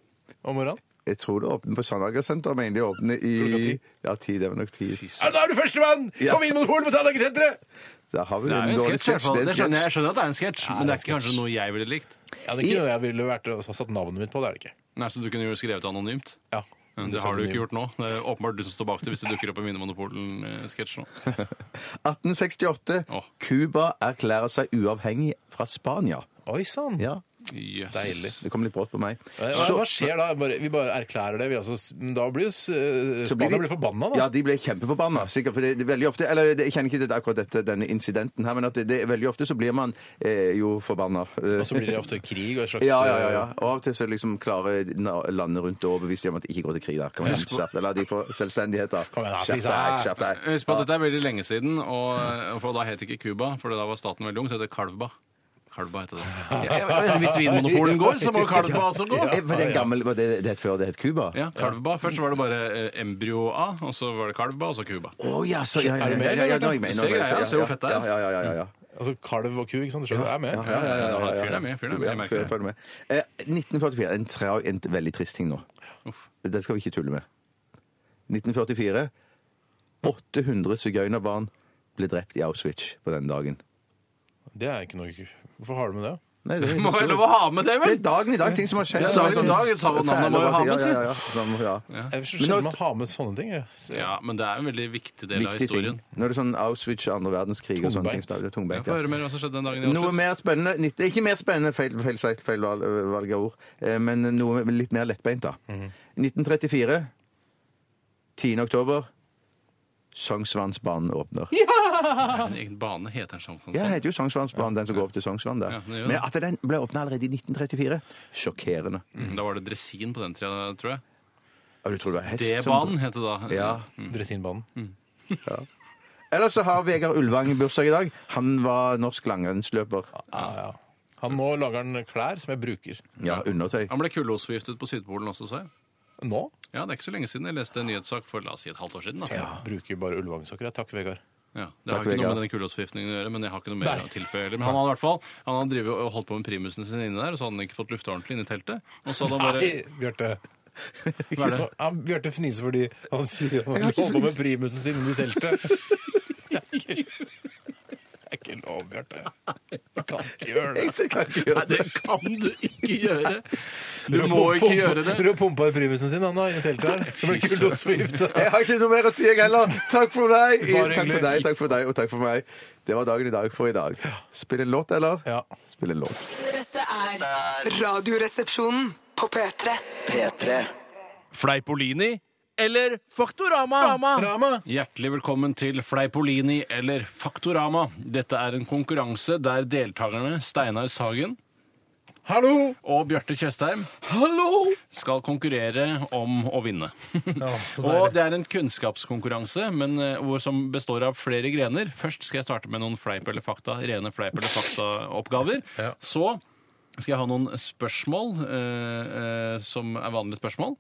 Speaker 3: Om morgenen?
Speaker 5: Jeg tror det åpner på Sandagersenteret, men de åpner
Speaker 3: Klokka
Speaker 5: i
Speaker 3: ti.
Speaker 5: Ja, ti. Det var nok ti.
Speaker 3: Ja, da er du førstemann
Speaker 5: Ja.
Speaker 3: på Vinmonopolet på Sandaker-senteret!
Speaker 5: Da har vi
Speaker 4: Det er
Speaker 5: en
Speaker 4: jo en
Speaker 5: dårlig
Speaker 4: sketsj. i hvert
Speaker 5: sketsj.
Speaker 4: fall.
Speaker 5: Det er
Speaker 4: Det skjønner
Speaker 5: en
Speaker 4: jeg.
Speaker 5: sketsj.
Speaker 4: jeg skjønner at det er en sketsj, men det er ikke kanskje noe jeg ville likt.
Speaker 3: Ja, det er ikke noe jeg ville vært og satt navnet mitt på. det er det ikke.
Speaker 4: Nei, Så du kunne jo skrevet anonymt?
Speaker 3: Ja.
Speaker 4: Men Det har du jo ikke gjort nå. Det er åpenbart du som står bak det hvis det dukker opp en Vinmonopolen-sketsj nå.
Speaker 5: 1868.
Speaker 4: Åh.
Speaker 5: Cuba erklærer seg uavhengig fra Spania.
Speaker 3: Oi sann!
Speaker 5: Ja,
Speaker 4: Yes.
Speaker 3: Deilig.
Speaker 5: det kom litt brått på meg.
Speaker 3: Hva, hva skjer da? Bare, vi bare erklærer det. Vi, altså, s- men da blir jo s- eh,
Speaker 5: Så blir
Speaker 3: Spania
Speaker 5: de-
Speaker 3: blir forbanna, da.
Speaker 5: Ja, de ble kjempeforbanna. Sikkert, for det, det er veldig ofte Eller det, jeg kjenner ikke til akkurat dette, denne incidenten her, men at det, det, er veldig ofte så blir man eh, jo forbanna.
Speaker 3: Og så blir det ofte krig og et slags
Speaker 5: ja, ja, ja, ja. Og av og til så liksom klarer na- landet rundt å overbevise dem om at det ikke går til krig. da. Kan man skjerpe seg? La de få selvstendighet, da.
Speaker 3: Kom igjen, da,
Speaker 5: Skjerp deg, skjerp deg.
Speaker 4: Husk på at dette er veldig lenge siden, og, eh, og for da het det ikke Cuba, for da var staten veldig ung, så het det Kalvba. Kalvba heter det. Ja, ja, Hvis Vinmonopolen går, så må jo Kalvba også gå.
Speaker 5: Eh, Var det en gammel, var det det het før det het Cuba?
Speaker 4: Ja, Kalvba. Først var det bare eh, embryo A, og så var det Kalvba, og så Cuba.
Speaker 5: Å ja, så ja, ja,
Speaker 3: Er du
Speaker 5: ja,
Speaker 3: med,
Speaker 5: ja, ja,
Speaker 3: eller?
Speaker 5: nå er jeg med, nå er jeg med,
Speaker 4: Du ser greia,
Speaker 5: ja,
Speaker 4: ser hvor fett det er.
Speaker 5: ja, Ja, ja, ja, ja, ja.
Speaker 3: Altså kalv og ku, ikke sant? Du skjønner, jeg er med.
Speaker 5: Ja, ja, ja, ja, ja.
Speaker 4: Fyren er med, fyren er med, jeg merker
Speaker 5: Ja,
Speaker 4: det.
Speaker 5: fyren er med. Eh, 1944 en, tra en veldig trist ting nå. Det skal vi ikke tulle med. 1944. 800 sigøynerbarn ble drept i Auschwitz på den dagen.
Speaker 3: Det er ikke noe Hvorfor har du med det?
Speaker 5: Nei, det, er
Speaker 4: Må vel
Speaker 5: historie.
Speaker 4: lov å ha med det,
Speaker 5: det
Speaker 4: vel?
Speaker 5: er dagen i dag, ting som har skjedd.
Speaker 4: Ja, dagen i dag, sa man, navnet må jo ha med seg.
Speaker 5: Ja, ja, ja. Sånn, ja.
Speaker 3: Jeg synes
Speaker 5: Men
Speaker 3: sjelden
Speaker 5: nå-
Speaker 3: man har med sånne ting. jeg.
Speaker 4: Ja, men det er en veldig viktig del av
Speaker 5: Viktig ting.
Speaker 4: historien.
Speaker 5: Nå er det sånn Auschwitz, andre verdenskrig og sånne ting.
Speaker 3: Tungbeint.
Speaker 5: så det er
Speaker 4: Jeg
Speaker 5: Tungbeint.
Speaker 4: får
Speaker 5: Ja.
Speaker 4: høre mer om hva som skjedde den dagen i
Speaker 5: Noe
Speaker 4: Auschwitz.
Speaker 5: mer spennende nitt- Ikke mer spennende, feil, feil, sagt, feil valg, valg av ord, eh, men noe litt mer lettbeint, da. 1934. 10. oktober. Sognsvannsbanen åpner.
Speaker 4: En egen bane heter sånn, en sjanse.
Speaker 5: Ja, det heter jo Sognsvannsbanen, den som går opp til Sognsvann der.
Speaker 4: Ja, det gjør det.
Speaker 5: Men at den ble åpna allerede i 1934, sjokkerende.
Speaker 4: Mm, Da var det dresin på den tida, tror jeg.
Speaker 5: Ja, du tror det var hest
Speaker 4: D-banen het det da.
Speaker 5: Ja.
Speaker 3: Dresinbanen.
Speaker 5: Ellers så har Vegard Ulvang bursdag i dag. Han var norsk langrennsløper.
Speaker 3: Ja, ja. Han nå lager han klær som jeg bruker.
Speaker 5: Ja, undertøy.
Speaker 4: Han ble kullosforgiftet på Sydpolen også, sa jeg.
Speaker 3: Nå
Speaker 4: Ja, det er ikke så lenge siden jeg leste en nyhetssak for la oss si et halvt år siden. da.
Speaker 5: Ah.
Speaker 3: bruker bare ullvangsokker. jeg. Takk, Vegard.
Speaker 4: Ja, det har ikke
Speaker 5: Takk,
Speaker 4: noe
Speaker 5: Vegard.
Speaker 4: med denne kullosforgiftningen å gjøre, men jeg har ikke noe mer
Speaker 3: Nei.
Speaker 4: å tilføye. heller. Men han hadde i hvert fall, han hadde drivet og holdt på med primusene sine inne der, og så hadde han ikke fått lufta ordentlig inne i teltet. Og så hadde han
Speaker 5: Eh.
Speaker 4: bare...
Speaker 3: Nei, Eh, Bjarte. Nå- Han Bjarte fniser fordi han sier han holder på med primusen sin i teltet. Det er ikke lov, Bjarte. Du kan ikke gjøre det.
Speaker 5: Jeg kan ikke gjøre
Speaker 4: Nei, det kan du ikke gjøre! Du må ikke gjøre det!
Speaker 3: Du har pumpa i primusen sin han da, i teltet her. Det blir
Speaker 4: Fy
Speaker 3: kult å svifte.
Speaker 5: Jeg har ikke noe mer å si, jeg heller. Takk for deg,
Speaker 3: Bare
Speaker 5: takk for
Speaker 3: hyggelig.
Speaker 5: deg, takk for deg og takk for meg. Det var dagen i dag for i dag. Spill en låt, eller?
Speaker 3: Ja.
Speaker 5: Spill en låt.
Speaker 6: Dette er Radioresepsjonen på P3.
Speaker 2: P3.
Speaker 4: Fleipolini eller Faktorama?
Speaker 3: Rama.
Speaker 4: Hjertelig velkommen til Fleipolini eller Faktorama. Dette er en konkurranse der deltakerne Steinar Sagen
Speaker 3: Hallo!
Speaker 4: og Bjarte Tjøstheim skal konkurrere om å vinne.
Speaker 3: så deilig.
Speaker 4: og det er en kunnskapskonkurranse men eh, hvor som består av flere grener. Først skal jeg starte med noen fleip eller fakta, rene fleip eller fakta-oppgaver.
Speaker 3: Ja.
Speaker 4: Så skal jeg ha noen spørsmål eh, eh, som er vanlige spørsmål.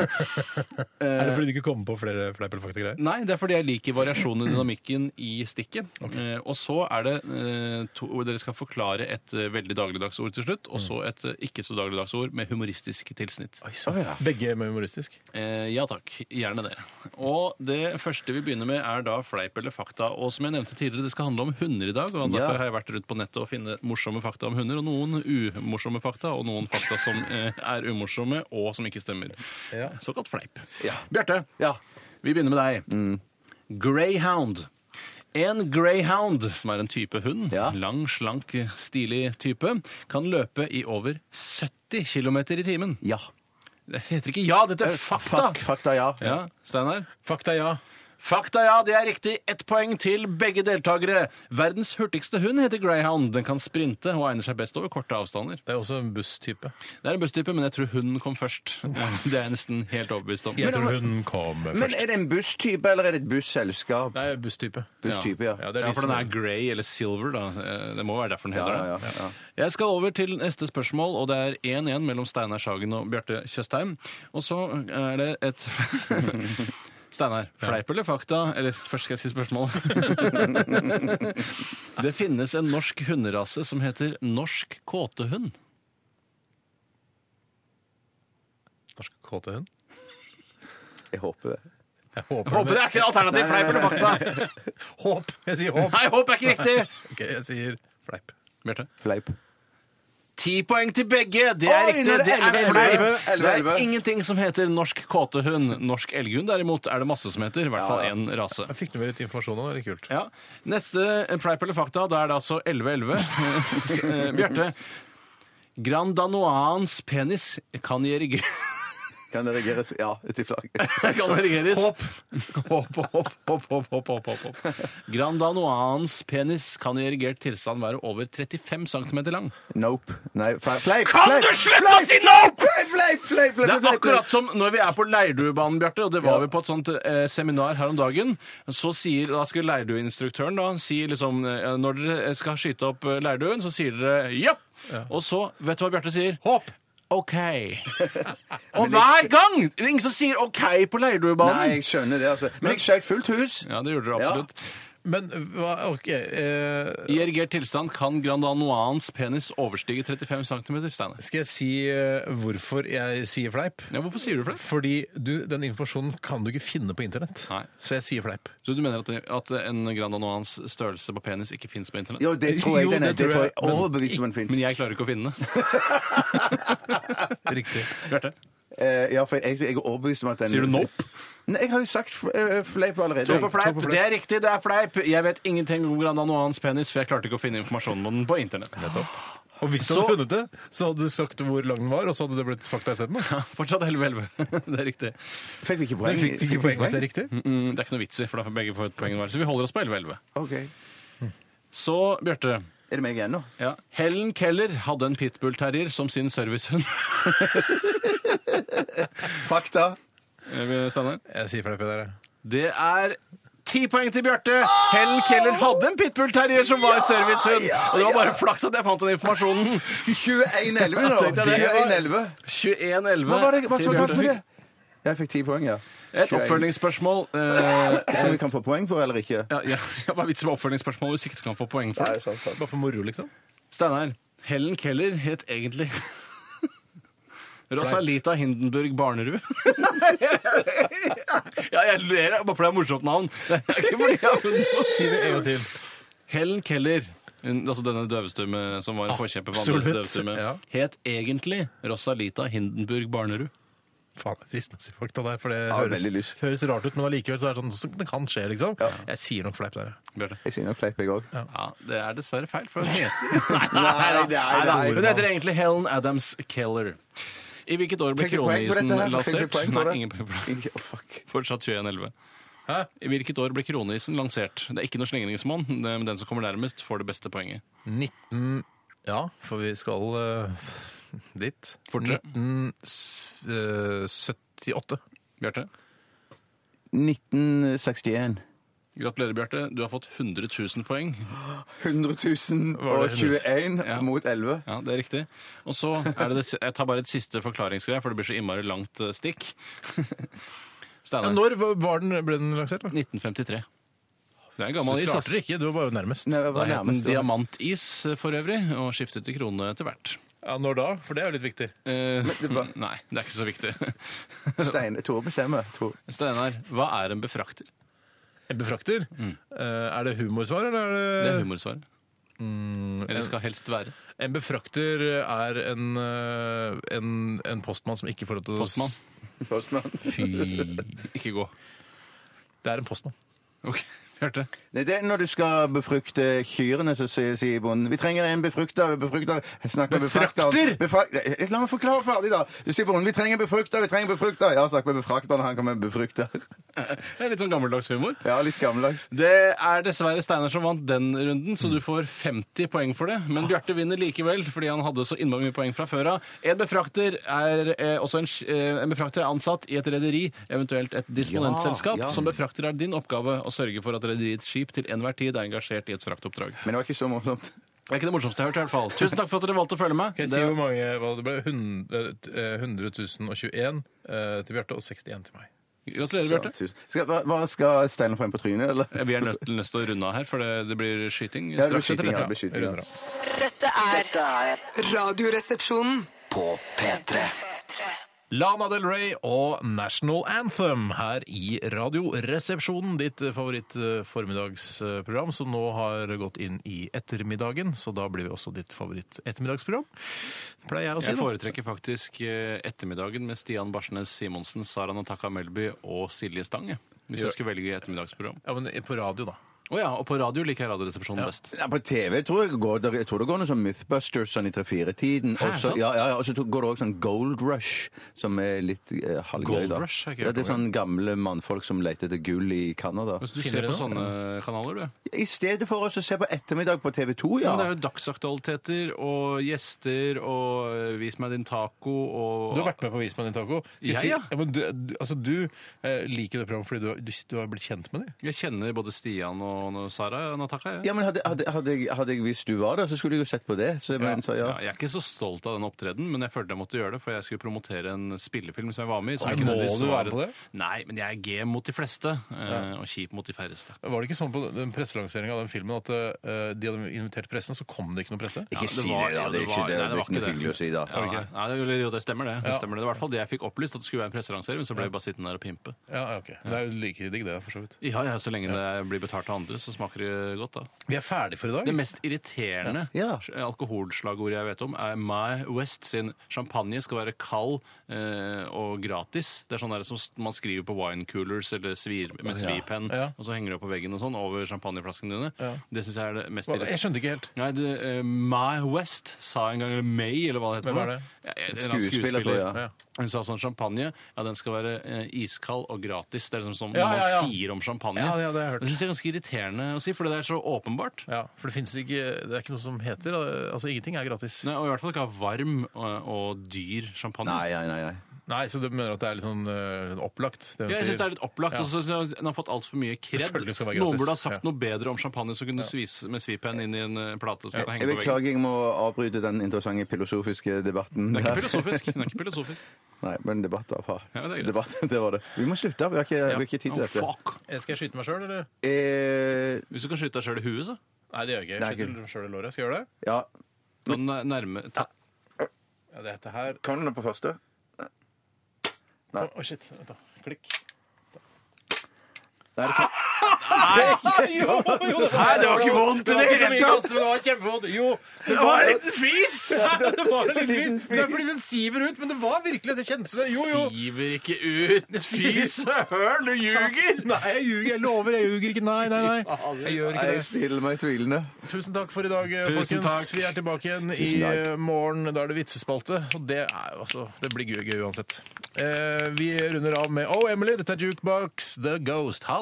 Speaker 3: Er det fordi du ikke kommer på flere fleip eller fakta-greier?
Speaker 4: Nei, det er fordi jeg liker variasjonen i dynamikken i stikket. Eh, og så er det eh, to, hvor Dere skal forklare et eh, veldig dagligdags ord til slutt,
Speaker 3: Mm.
Speaker 4: og så et eh, ikke så dagligdags ord med humoristisk tilsnitt.
Speaker 3: Begge med humoristisk.
Speaker 4: Eh, ja takk. Gjerne det. Og det første vi begynner med, er da fleip eller fakta. Og som jeg nevnte tidligere, det skal handle om hunder i dag. Og derfor har jeg vært rundt på nettet og funnet morsomme fakta om hunder. Og noen umorsomme fakta, og noen fakta som eh, er umorsomme, og som ikke stemmer. Såkalt fleip. Bjarte,
Speaker 5: Ja. Mm.
Speaker 4: vi begynner med deg. Greyhound. En greyhound, som er en type hund,
Speaker 5: Ja.
Speaker 4: lang, slank, stilig type, kan løpe i over 70 km i timen.
Speaker 5: Ja.
Speaker 4: Det heter ikke ja, dette er fakta!
Speaker 5: Eh, Fuck, fakta, ja.
Speaker 4: Ja, Steinar?
Speaker 3: Fakta ja.
Speaker 4: Fakta, ja, det er riktig. Ett poeng til begge deltakere. Verdens hurtigste hund heter greyhound. Den kan sprinte og egner seg best over korte avstander.
Speaker 3: Det er også en busstype.
Speaker 4: Det er en busstype, men jeg tror hunden kom først. Det er jeg nesten helt overbevist om.
Speaker 3: Jeg tror hun kom
Speaker 5: Men
Speaker 3: først.
Speaker 5: er det en busstype, eller er det et busselskap?
Speaker 3: Nei, busstype.
Speaker 5: Busstype, ja.
Speaker 3: Ja, det er liksom
Speaker 4: Ja,
Speaker 3: de
Speaker 4: for den
Speaker 3: som-
Speaker 4: er grey eller silver, da. Eh, Det må være derfor den
Speaker 5: Ja,
Speaker 4: heter
Speaker 5: ja,
Speaker 4: det.
Speaker 5: ja.
Speaker 4: Jeg skal over til neste spørsmål, og det er 1-1 mellom Steinar Sagen og Bjarte Tjøstheim. Og så er det et Steinar, fleip eller fakta? Eller først skal jeg si spørsmålet. det finnes en norsk hunderase som heter norsk kåtehund.
Speaker 3: Norsk kåte hund.
Speaker 5: Jeg håper det.
Speaker 3: Jeg håper,
Speaker 4: Håper det er ikke et alternativ, fleip eller fakta!
Speaker 3: Håp! Jeg sier håp.
Speaker 4: Nei, håp er ikke riktig!
Speaker 3: Ok, jeg sier fleip.
Speaker 4: Bjarte?
Speaker 5: Fleip.
Speaker 4: ti poeng til begge. Det er
Speaker 5: Oi,
Speaker 4: riktig.
Speaker 5: nå er det
Speaker 4: Det er
Speaker 5: elleve,
Speaker 4: fleip.
Speaker 5: elleve,
Speaker 4: Det
Speaker 5: elleve.
Speaker 4: er ingenting som heter norsk kåtehund. Norsk elghund derimot er det masse som heter. I hvert fall én rase.
Speaker 3: Jeg fikk med litt informasjon nå, det er kult.
Speaker 4: Ja. Neste eh, fleip eller fakta. Da er det altså 11-11. Eh, Bjarte. Grand Danoans penis kan erige-
Speaker 5: Kan det regeres? Ja, ut i flagget.
Speaker 4: kan erigeres.
Speaker 3: Hopp.
Speaker 4: Hopp, hopp, hopp, hopp, hopp, hopp, hopp, hopp. Grand Danoans penis kan i erigert tilstand være over 35 cm lang.
Speaker 5: Nope. Nei, fe- fleip!
Speaker 4: Kan
Speaker 5: fleip,
Speaker 4: du slutte å si nope?!
Speaker 5: Fleip, fleip, fleip, fleip,
Speaker 4: Det er
Speaker 5: fleip,
Speaker 4: akkurat som når vi er på Leirduebanen, Bjarte, og det var vi på et sånt eh, seminar her om dagen. Så sier, da skal Leirdueinstruktøren da si liksom eh, Når dere skal skyte opp eh, leirduen, så sier dere ja! Og så, vet du hva Bjarte sier?
Speaker 3: Hopp!
Speaker 4: OK. Og hver gang! Det er ingen som sier OK på
Speaker 5: Nei,
Speaker 4: Leirduebanen.
Speaker 5: jeg skjønner det, altså. Men jeg skjøt fullt hus.
Speaker 4: Ja, det gjorde dere absolutt.
Speaker 3: Men hva OK eh,
Speaker 4: I erigert tilstand kan grandanoans penis overstige 35 cm, Steinar.
Speaker 3: Skal jeg si eh, hvorfor jeg sier fleip?
Speaker 4: Ja, hvorfor sier du fleip?
Speaker 3: Fordi du, den informasjonen kan du ikke finne på internett.
Speaker 4: Nei.
Speaker 3: Så jeg sier fleip.
Speaker 4: Så du mener at, at en grandanoans størrelse på penis ikke fins på internett?
Speaker 5: Jo, det tror jeg
Speaker 3: Jo,
Speaker 5: den
Speaker 3: det
Speaker 5: er. Det
Speaker 3: tror
Speaker 5: tror
Speaker 3: jeg.
Speaker 5: jeg overbevist om den fins.
Speaker 4: Men jeg klarer ikke å finne den.
Speaker 3: Riktig.
Speaker 4: Bjarte?
Speaker 5: Eh, Ja, for jeg, jeg er overbevist om at den
Speaker 4: Sier du nope?
Speaker 5: Nei, jeg har jo sagt f- eh, fleip allerede.
Speaker 4: To på
Speaker 5: To
Speaker 4: fleip.
Speaker 5: på
Speaker 4: Det er riktig, det er fleip. Jeg vet ingenting om grandanoans penis, for jeg klarte ikke å finne informasjonen om den på internett.
Speaker 3: Og hvis du
Speaker 4: Så-
Speaker 3: hadde funnet det, så hadde du sagt hvor lang den var, og så hadde det blitt fakta isteden.
Speaker 4: Ja, Fortsatt 11-11. Det er riktig.
Speaker 5: Fikk vi ikke poeng?
Speaker 3: Men fikk ikke poeng hvis det er riktig?
Speaker 4: Mm, Det er ikke noe vits i, for da får begge få et poeng hver. Så vi holder oss på 11-11.
Speaker 5: Ok.
Speaker 4: Så, Bjarte.
Speaker 5: Er det meg igjen nå?
Speaker 4: Ja. Helen Keller hadde en pitbull-terrier som sin servicehund.
Speaker 5: Fakta.
Speaker 4: Eh, Steinar?
Speaker 3: Jeg sier fleip. Dere.
Speaker 4: Det er ti poeng til Bjarte. Helen Keller hadde en pitbull-terrier som var servicehund. Og det var bare flaks at jeg fant den informasjonen.
Speaker 5: 21-11 nå.
Speaker 4: Tenkte jeg det var-
Speaker 5: 21-11.
Speaker 4: 21-11
Speaker 5: Hva var det? Hva
Speaker 4: til
Speaker 5: så takk
Speaker 4: Bjarte.
Speaker 5: for det? Jeg fikk ti poeng, ja.
Speaker 4: Et oppfølgingsspørsmål. eh,
Speaker 5: Som vi kan få poeng for, eller ikke?
Speaker 4: ja, ja, ja, Hva er vitsen med oppfølgingsspørsmål hvis ikke du kan få poeng for
Speaker 5: Nei,
Speaker 4: det?
Speaker 5: sant, sant.
Speaker 3: Bare for moro, liksom?
Speaker 4: Steinar, Helen Keller het egentlig Rosalita Hindenburg Barnerud. ja, jeg ler bare fordi det er morsomt navn. Det er ikke fordi jeg har funnet på å
Speaker 3: Si det en gang til.
Speaker 4: Helen Keller, hun, altså denne døvestumme som var en forkjemper for andres
Speaker 3: Absolutt,
Speaker 4: døvestumme,
Speaker 3: ja.
Speaker 4: het egentlig Rosalita Hindenburg Barnerud.
Speaker 3: Faen, det er fristende å si fakta der, for det
Speaker 5: Ja,
Speaker 3: høres,
Speaker 5: veldig lyst.
Speaker 3: høres rart ut, men allikevel så er det sånn så Det kan skje, liksom. Jeg sier nok fleip der, ja.
Speaker 4: Bjarte.
Speaker 5: Jeg sier nok fleip, jeg òg.
Speaker 4: Ja, det er dessverre feil, for hun heter Nei, nei,
Speaker 5: Nei, det er-
Speaker 4: da.
Speaker 5: det er-
Speaker 4: Hun heter egentlig Helen Adams Keller. I hvilket år ble
Speaker 5: Fikk vi poeng for
Speaker 4: kroneisen
Speaker 5: dette? her? Fikk vi
Speaker 4: lansert?
Speaker 5: poeng
Speaker 4: Nei,
Speaker 5: for det?
Speaker 4: ingen poeng for det.
Speaker 5: Ikke- å, fuck.
Speaker 4: Fortsatt 21-11.
Speaker 3: Hæ?
Speaker 4: I hvilket år ble kroneisen lansert? Det er ikke noe slengringsmonn, men den som kommer nærmest, får det beste poenget.
Speaker 3: 19 Ja, for vi skal eh, dit. eh,
Speaker 4: Fortere.
Speaker 3: 1978.
Speaker 4: Bjarte?
Speaker 5: 1961.
Speaker 4: Gratulerer, Bjarte. Du har fått 100 000 poeng.
Speaker 5: 100 000
Speaker 3: Var det
Speaker 5: og 21
Speaker 4: Ja.
Speaker 5: mot 11.
Speaker 4: Ja, det er riktig. Og så er det det Jeg tar bare et siste forklaringsgreie, for det blir så innmari langt eh, stikk.
Speaker 3: Ja,
Speaker 4: Steinar.
Speaker 3: når var den, ble den lansert? da?
Speaker 4: 1953. Det er en gammel is.
Speaker 3: Klarte
Speaker 4: ass.
Speaker 3: det ikke, du var bare nærmest.
Speaker 5: Nei, det
Speaker 4: Da
Speaker 5: var
Speaker 4: het den
Speaker 5: nærmest.
Speaker 4: Diamantis eh, for øvrig, og skiftet til krone etter hvert.
Speaker 3: Ja, Når da? For det er jo litt viktig.
Speaker 4: Eh,
Speaker 5: det var-
Speaker 4: Nei, det er ikke så viktig.
Speaker 5: Stein, Tore bestemmer. Tore.
Speaker 4: Steinar, hva er en befrakter?
Speaker 3: En befrakter. Eh, er det humorsvar, eller
Speaker 4: Mm. Det
Speaker 3: er
Speaker 4: er
Speaker 5: Eh,
Speaker 3: det, Mm,
Speaker 4: humorsvaret. Eller skal helst være.
Speaker 3: En befrakter er en, eh, en, en postmann som ikke får lov til å s-
Speaker 4: Postmann.
Speaker 5: Postmann.
Speaker 4: Ikke gå.
Speaker 3: Det er en postmann.
Speaker 4: Ok, hørte.
Speaker 5: Nei, det er når du skal befrukte kyrne, så sier sier bonden Vi trenger en befrukter. befrukter. Jeg snakker med befrakteren. Befrak- Nei, La meg forklare ferdig, da. Du sier bonden vi trenger en befrukter. vi trenger en befrukter. Ja, snakk med befrakteren, han kommer med en befrukter.
Speaker 4: Det er litt sånn gammeldags humor.
Speaker 5: Ja, litt gammeldags.
Speaker 4: Det er dessverre Steinar som vant den runden, så du får 50 poeng for det. Men Bjarte vinner likevel, fordi han hadde så innmari mye poeng fra før av. En befrakter er eh, også en, sk- eh, en befrakter er ansatt i et rederi, eventuelt et disponentselskap.
Speaker 5: Ja, ja.
Speaker 4: Som befrakter er din oppgave å sørge for at rederiets skip til enhver tid er engasjert i et fraktoppdrag.
Speaker 5: Men det var ikke så morsomt.
Speaker 4: Det er ikke det morsomste jeg har hørt, i hvert fall. Tusen takk for at dere valgte å følge meg.
Speaker 3: Kan jeg si hvor mange hva det ble? eh, 100 021 eh, til Bjarte og 61 til meg.
Speaker 4: Gratulerer, Bjarte.
Speaker 5: Tusen- Skal, hva, hva skal Steinar få en på trynet, eller?
Speaker 4: Vi er nødt til nødt til å runde av her, for det, det blir skyting
Speaker 5: Ja, det blir
Speaker 4: straks etter
Speaker 5: skyting, ja.
Speaker 4: dette.
Speaker 5: blir skyting,
Speaker 3: Jeg runder av.
Speaker 6: Dette er Radioresepsjonen.
Speaker 2: På P3.
Speaker 3: Lana Del Rey og National Anthem her i Radioresepsjonen, ditt favoritt-formiddagsprogram, som nå har gått inn i ettermiddagen. Så da blir vi også ditt favoritt-ettermiddagsprogram, pleier jeg å si.
Speaker 4: Jeg
Speaker 3: da.
Speaker 4: foretrekker faktisk eh, ettermiddagen med Stian Barsnes Simonsen, Sara Nataka Melby og Silje Stange. Hvis jeg skulle velge ettermiddagsprogram.
Speaker 3: Ja, men på radio, da.
Speaker 4: Å ja, og på radio liker jeg Radioresepsjonen best.
Speaker 5: Ja, på TV tror jeg, går, der- jeg tror det går noe sånn Mythbusters sånn i 3-4-tiden. Og så
Speaker 4: sant?
Speaker 5: ja, ja, ja, og så tror- går det også sånn Gold Rush, som er litt eh, halvgøy.
Speaker 3: Gold
Speaker 5: da.
Speaker 3: Rush har jeg ikke
Speaker 5: ja,
Speaker 3: hørt
Speaker 5: det er
Speaker 3: om,
Speaker 5: sånn gamle mannfolk som leter etter gull i Canada.
Speaker 4: Hvis du
Speaker 3: Finner du
Speaker 4: ser
Speaker 3: noe?
Speaker 4: på sånne kanaler, du.
Speaker 5: I stedet for oss å se på ettermiddag på TV 2, ja.
Speaker 4: Men det er jo dagsaktualiteter og gjester og eh, Vis meg din taco og
Speaker 3: Du har vært med på Vis meg din taco. Skal
Speaker 4: Jeg,
Speaker 3: si-
Speaker 4: ja.
Speaker 3: men du, du, altså, du eh, liker det programmet fordi du, du, du har blitt kjent med dem.
Speaker 4: Jeg kjenner både Stian og Sara Nataka. Jeg.
Speaker 5: Ja, men hadde, hadde, hadde, jeg, hadde jeg visst du var der, så skulle jeg jo sett på det. Så, men, så, ja.
Speaker 4: Ja, jeg er ikke så stolt av den opptredenen, men jeg følte jeg måtte gjøre det, for jeg skulle promotere en spillefilm som jeg var med i. som
Speaker 3: Oi,
Speaker 4: jeg ikke
Speaker 3: må
Speaker 4: nødvendigvis
Speaker 3: du
Speaker 4: var
Speaker 3: være
Speaker 4: et-
Speaker 3: på det?
Speaker 4: Nei, men jeg er game mot de fleste, eh, og kjip mot de færreste.
Speaker 3: Var det ikke sånn på den presselanseringen av den filmen at eh, de hadde invitert pressen, så kom det ikke noe presse?
Speaker 5: Ikke
Speaker 4: det
Speaker 5: si
Speaker 4: var-
Speaker 5: det, da. Det er ikke
Speaker 4: var-
Speaker 5: det.
Speaker 4: nei,
Speaker 5: Det er
Speaker 4: var
Speaker 5: ikke noe
Speaker 4: det.
Speaker 5: hyggelig å si, da.
Speaker 4: Ja, nei, nei, det- jo, det stemmer det.
Speaker 3: Ja.
Speaker 4: det stemmer det. Det var i hvert fall det jeg fikk opplyst, at det skulle være en presselansering, men så ble jeg bare sittende der og pimpe.
Speaker 3: Ja, ok. Det er jo like digg, det, for så vidt.
Speaker 4: Ja, ja, så lenge det blir betalt av andre, så smaker det godt, da.
Speaker 3: Vi er ferdig for i dag.
Speaker 4: Det mest irriterende
Speaker 5: Ja.
Speaker 4: alkoholslagordet jeg vet om, er My West sin champagne skal være kald eh, og gratis. Det er sånn der som s- man skriver på wine coolers eller svir, med svipenn,
Speaker 3: Ja.
Speaker 4: og så henger det opp på veggen og sånn over champagneflaskene dine. Det syns jeg er det mest
Speaker 3: Hva- Jeg
Speaker 4: irriterende.
Speaker 3: skjønte ikke helt.
Speaker 4: Nei, du, eh, My West sa en gang, eller May, eller hva det heter.
Speaker 3: Hvem er
Speaker 4: for noe.
Speaker 3: det?
Speaker 4: Ja, en eller annen
Speaker 5: Skuespiller, tror jeg.
Speaker 3: Ja.
Speaker 4: Hun sa sånn champagne, ja den skal være eh, iskald og gratis. Det er liksom sånn
Speaker 3: Ja,
Speaker 4: man
Speaker 3: ja, ja.
Speaker 4: sier om champagne.
Speaker 3: Ja, ja, det har jeg hørt.
Speaker 4: synes jeg er ganske irriterende å si, for det er så åpenbart.
Speaker 3: Ja, for det finnes ikke Det er ikke noe som heter Altså, ingenting er gratis.
Speaker 4: Nei, og i hvert fall ikke ha varm og, og dyr champagne.
Speaker 5: Nei, nei, nei. nei.
Speaker 3: Nei, så du mener at det er litt sånn eh, opplagt? Det hun
Speaker 4: Ja, jeg synes
Speaker 3: sier.
Speaker 4: det er litt opplagt.
Speaker 3: Ja.
Speaker 4: og så synes jeg Den har fått altfor mye kred.
Speaker 3: Selvfølgelig skal det være
Speaker 4: Noen
Speaker 3: gratis.
Speaker 4: burde ha sagt
Speaker 3: Ja.
Speaker 4: noe bedre om champagne som kunne svis med svipenn inn i en eh, plate som kan
Speaker 5: Jeg
Speaker 4: henge på veggen.
Speaker 5: beklager, jeg må avbryte den interessante filosofiske debatten.
Speaker 4: Det er
Speaker 5: der.
Speaker 4: ikke filosofisk. Det er ikke filosofisk.
Speaker 5: Nei, men debatt da, far.
Speaker 4: Ja, men det er greit.
Speaker 5: debatt, det var det. Vi må slutte, vi har ikke, vi har ikke tid til
Speaker 4: Oh,
Speaker 5: dette.
Speaker 4: fuck.
Speaker 3: Eh, Skal jeg skyte meg sjøl, eller?
Speaker 5: Eh,
Speaker 4: Hvis du kan skyte deg sjøl i huet, så.
Speaker 3: Nei, det gjør jeg ikke.
Speaker 5: Nei,
Speaker 3: Jeg
Speaker 5: ikke-
Speaker 3: skyter meg sjøl i låret. Skal jeg gjøre det?
Speaker 5: ja,
Speaker 4: Da den er eh, nærme ta,
Speaker 3: Ja, dette her
Speaker 5: kan du den på første?
Speaker 3: Å, å, shit. Vent da. Klikk.
Speaker 5: Nei, det kan...
Speaker 3: Jo, jo, det var,
Speaker 5: det var ikke vondt i
Speaker 3: Det var ikke
Speaker 5: det
Speaker 3: så
Speaker 5: hele
Speaker 3: mye
Speaker 5: tatt.
Speaker 3: gass, men det var kjempevondt. Jo, det
Speaker 5: var en
Speaker 3: liten fis! Det var en liten fis. Det er fordi den siver ut, men det var virkelig at jeg kjente det. Jo, jo.
Speaker 4: Siver ikke ut! Fy søren, du ljuger!
Speaker 3: Nei, jeg ljuger. Jeg lover, jeg ljuger ikke. Nei, nei, nei. Jeg gjør
Speaker 5: Nei,
Speaker 3: ikke
Speaker 5: jeg
Speaker 3: det.
Speaker 5: stiller meg tvilende.
Speaker 3: Tusen takk for i dag, eh, folkens.
Speaker 4: takk.
Speaker 3: Vi er tilbake igjen i
Speaker 5: Tusen takk.
Speaker 3: eh, morgen. Da er det vitsespalte. Og det, er, jo altså, det blir gøy, gøy uansett. Eh, vi runder av med Oh, Emily, dette er Jukebox The Ghost. Ha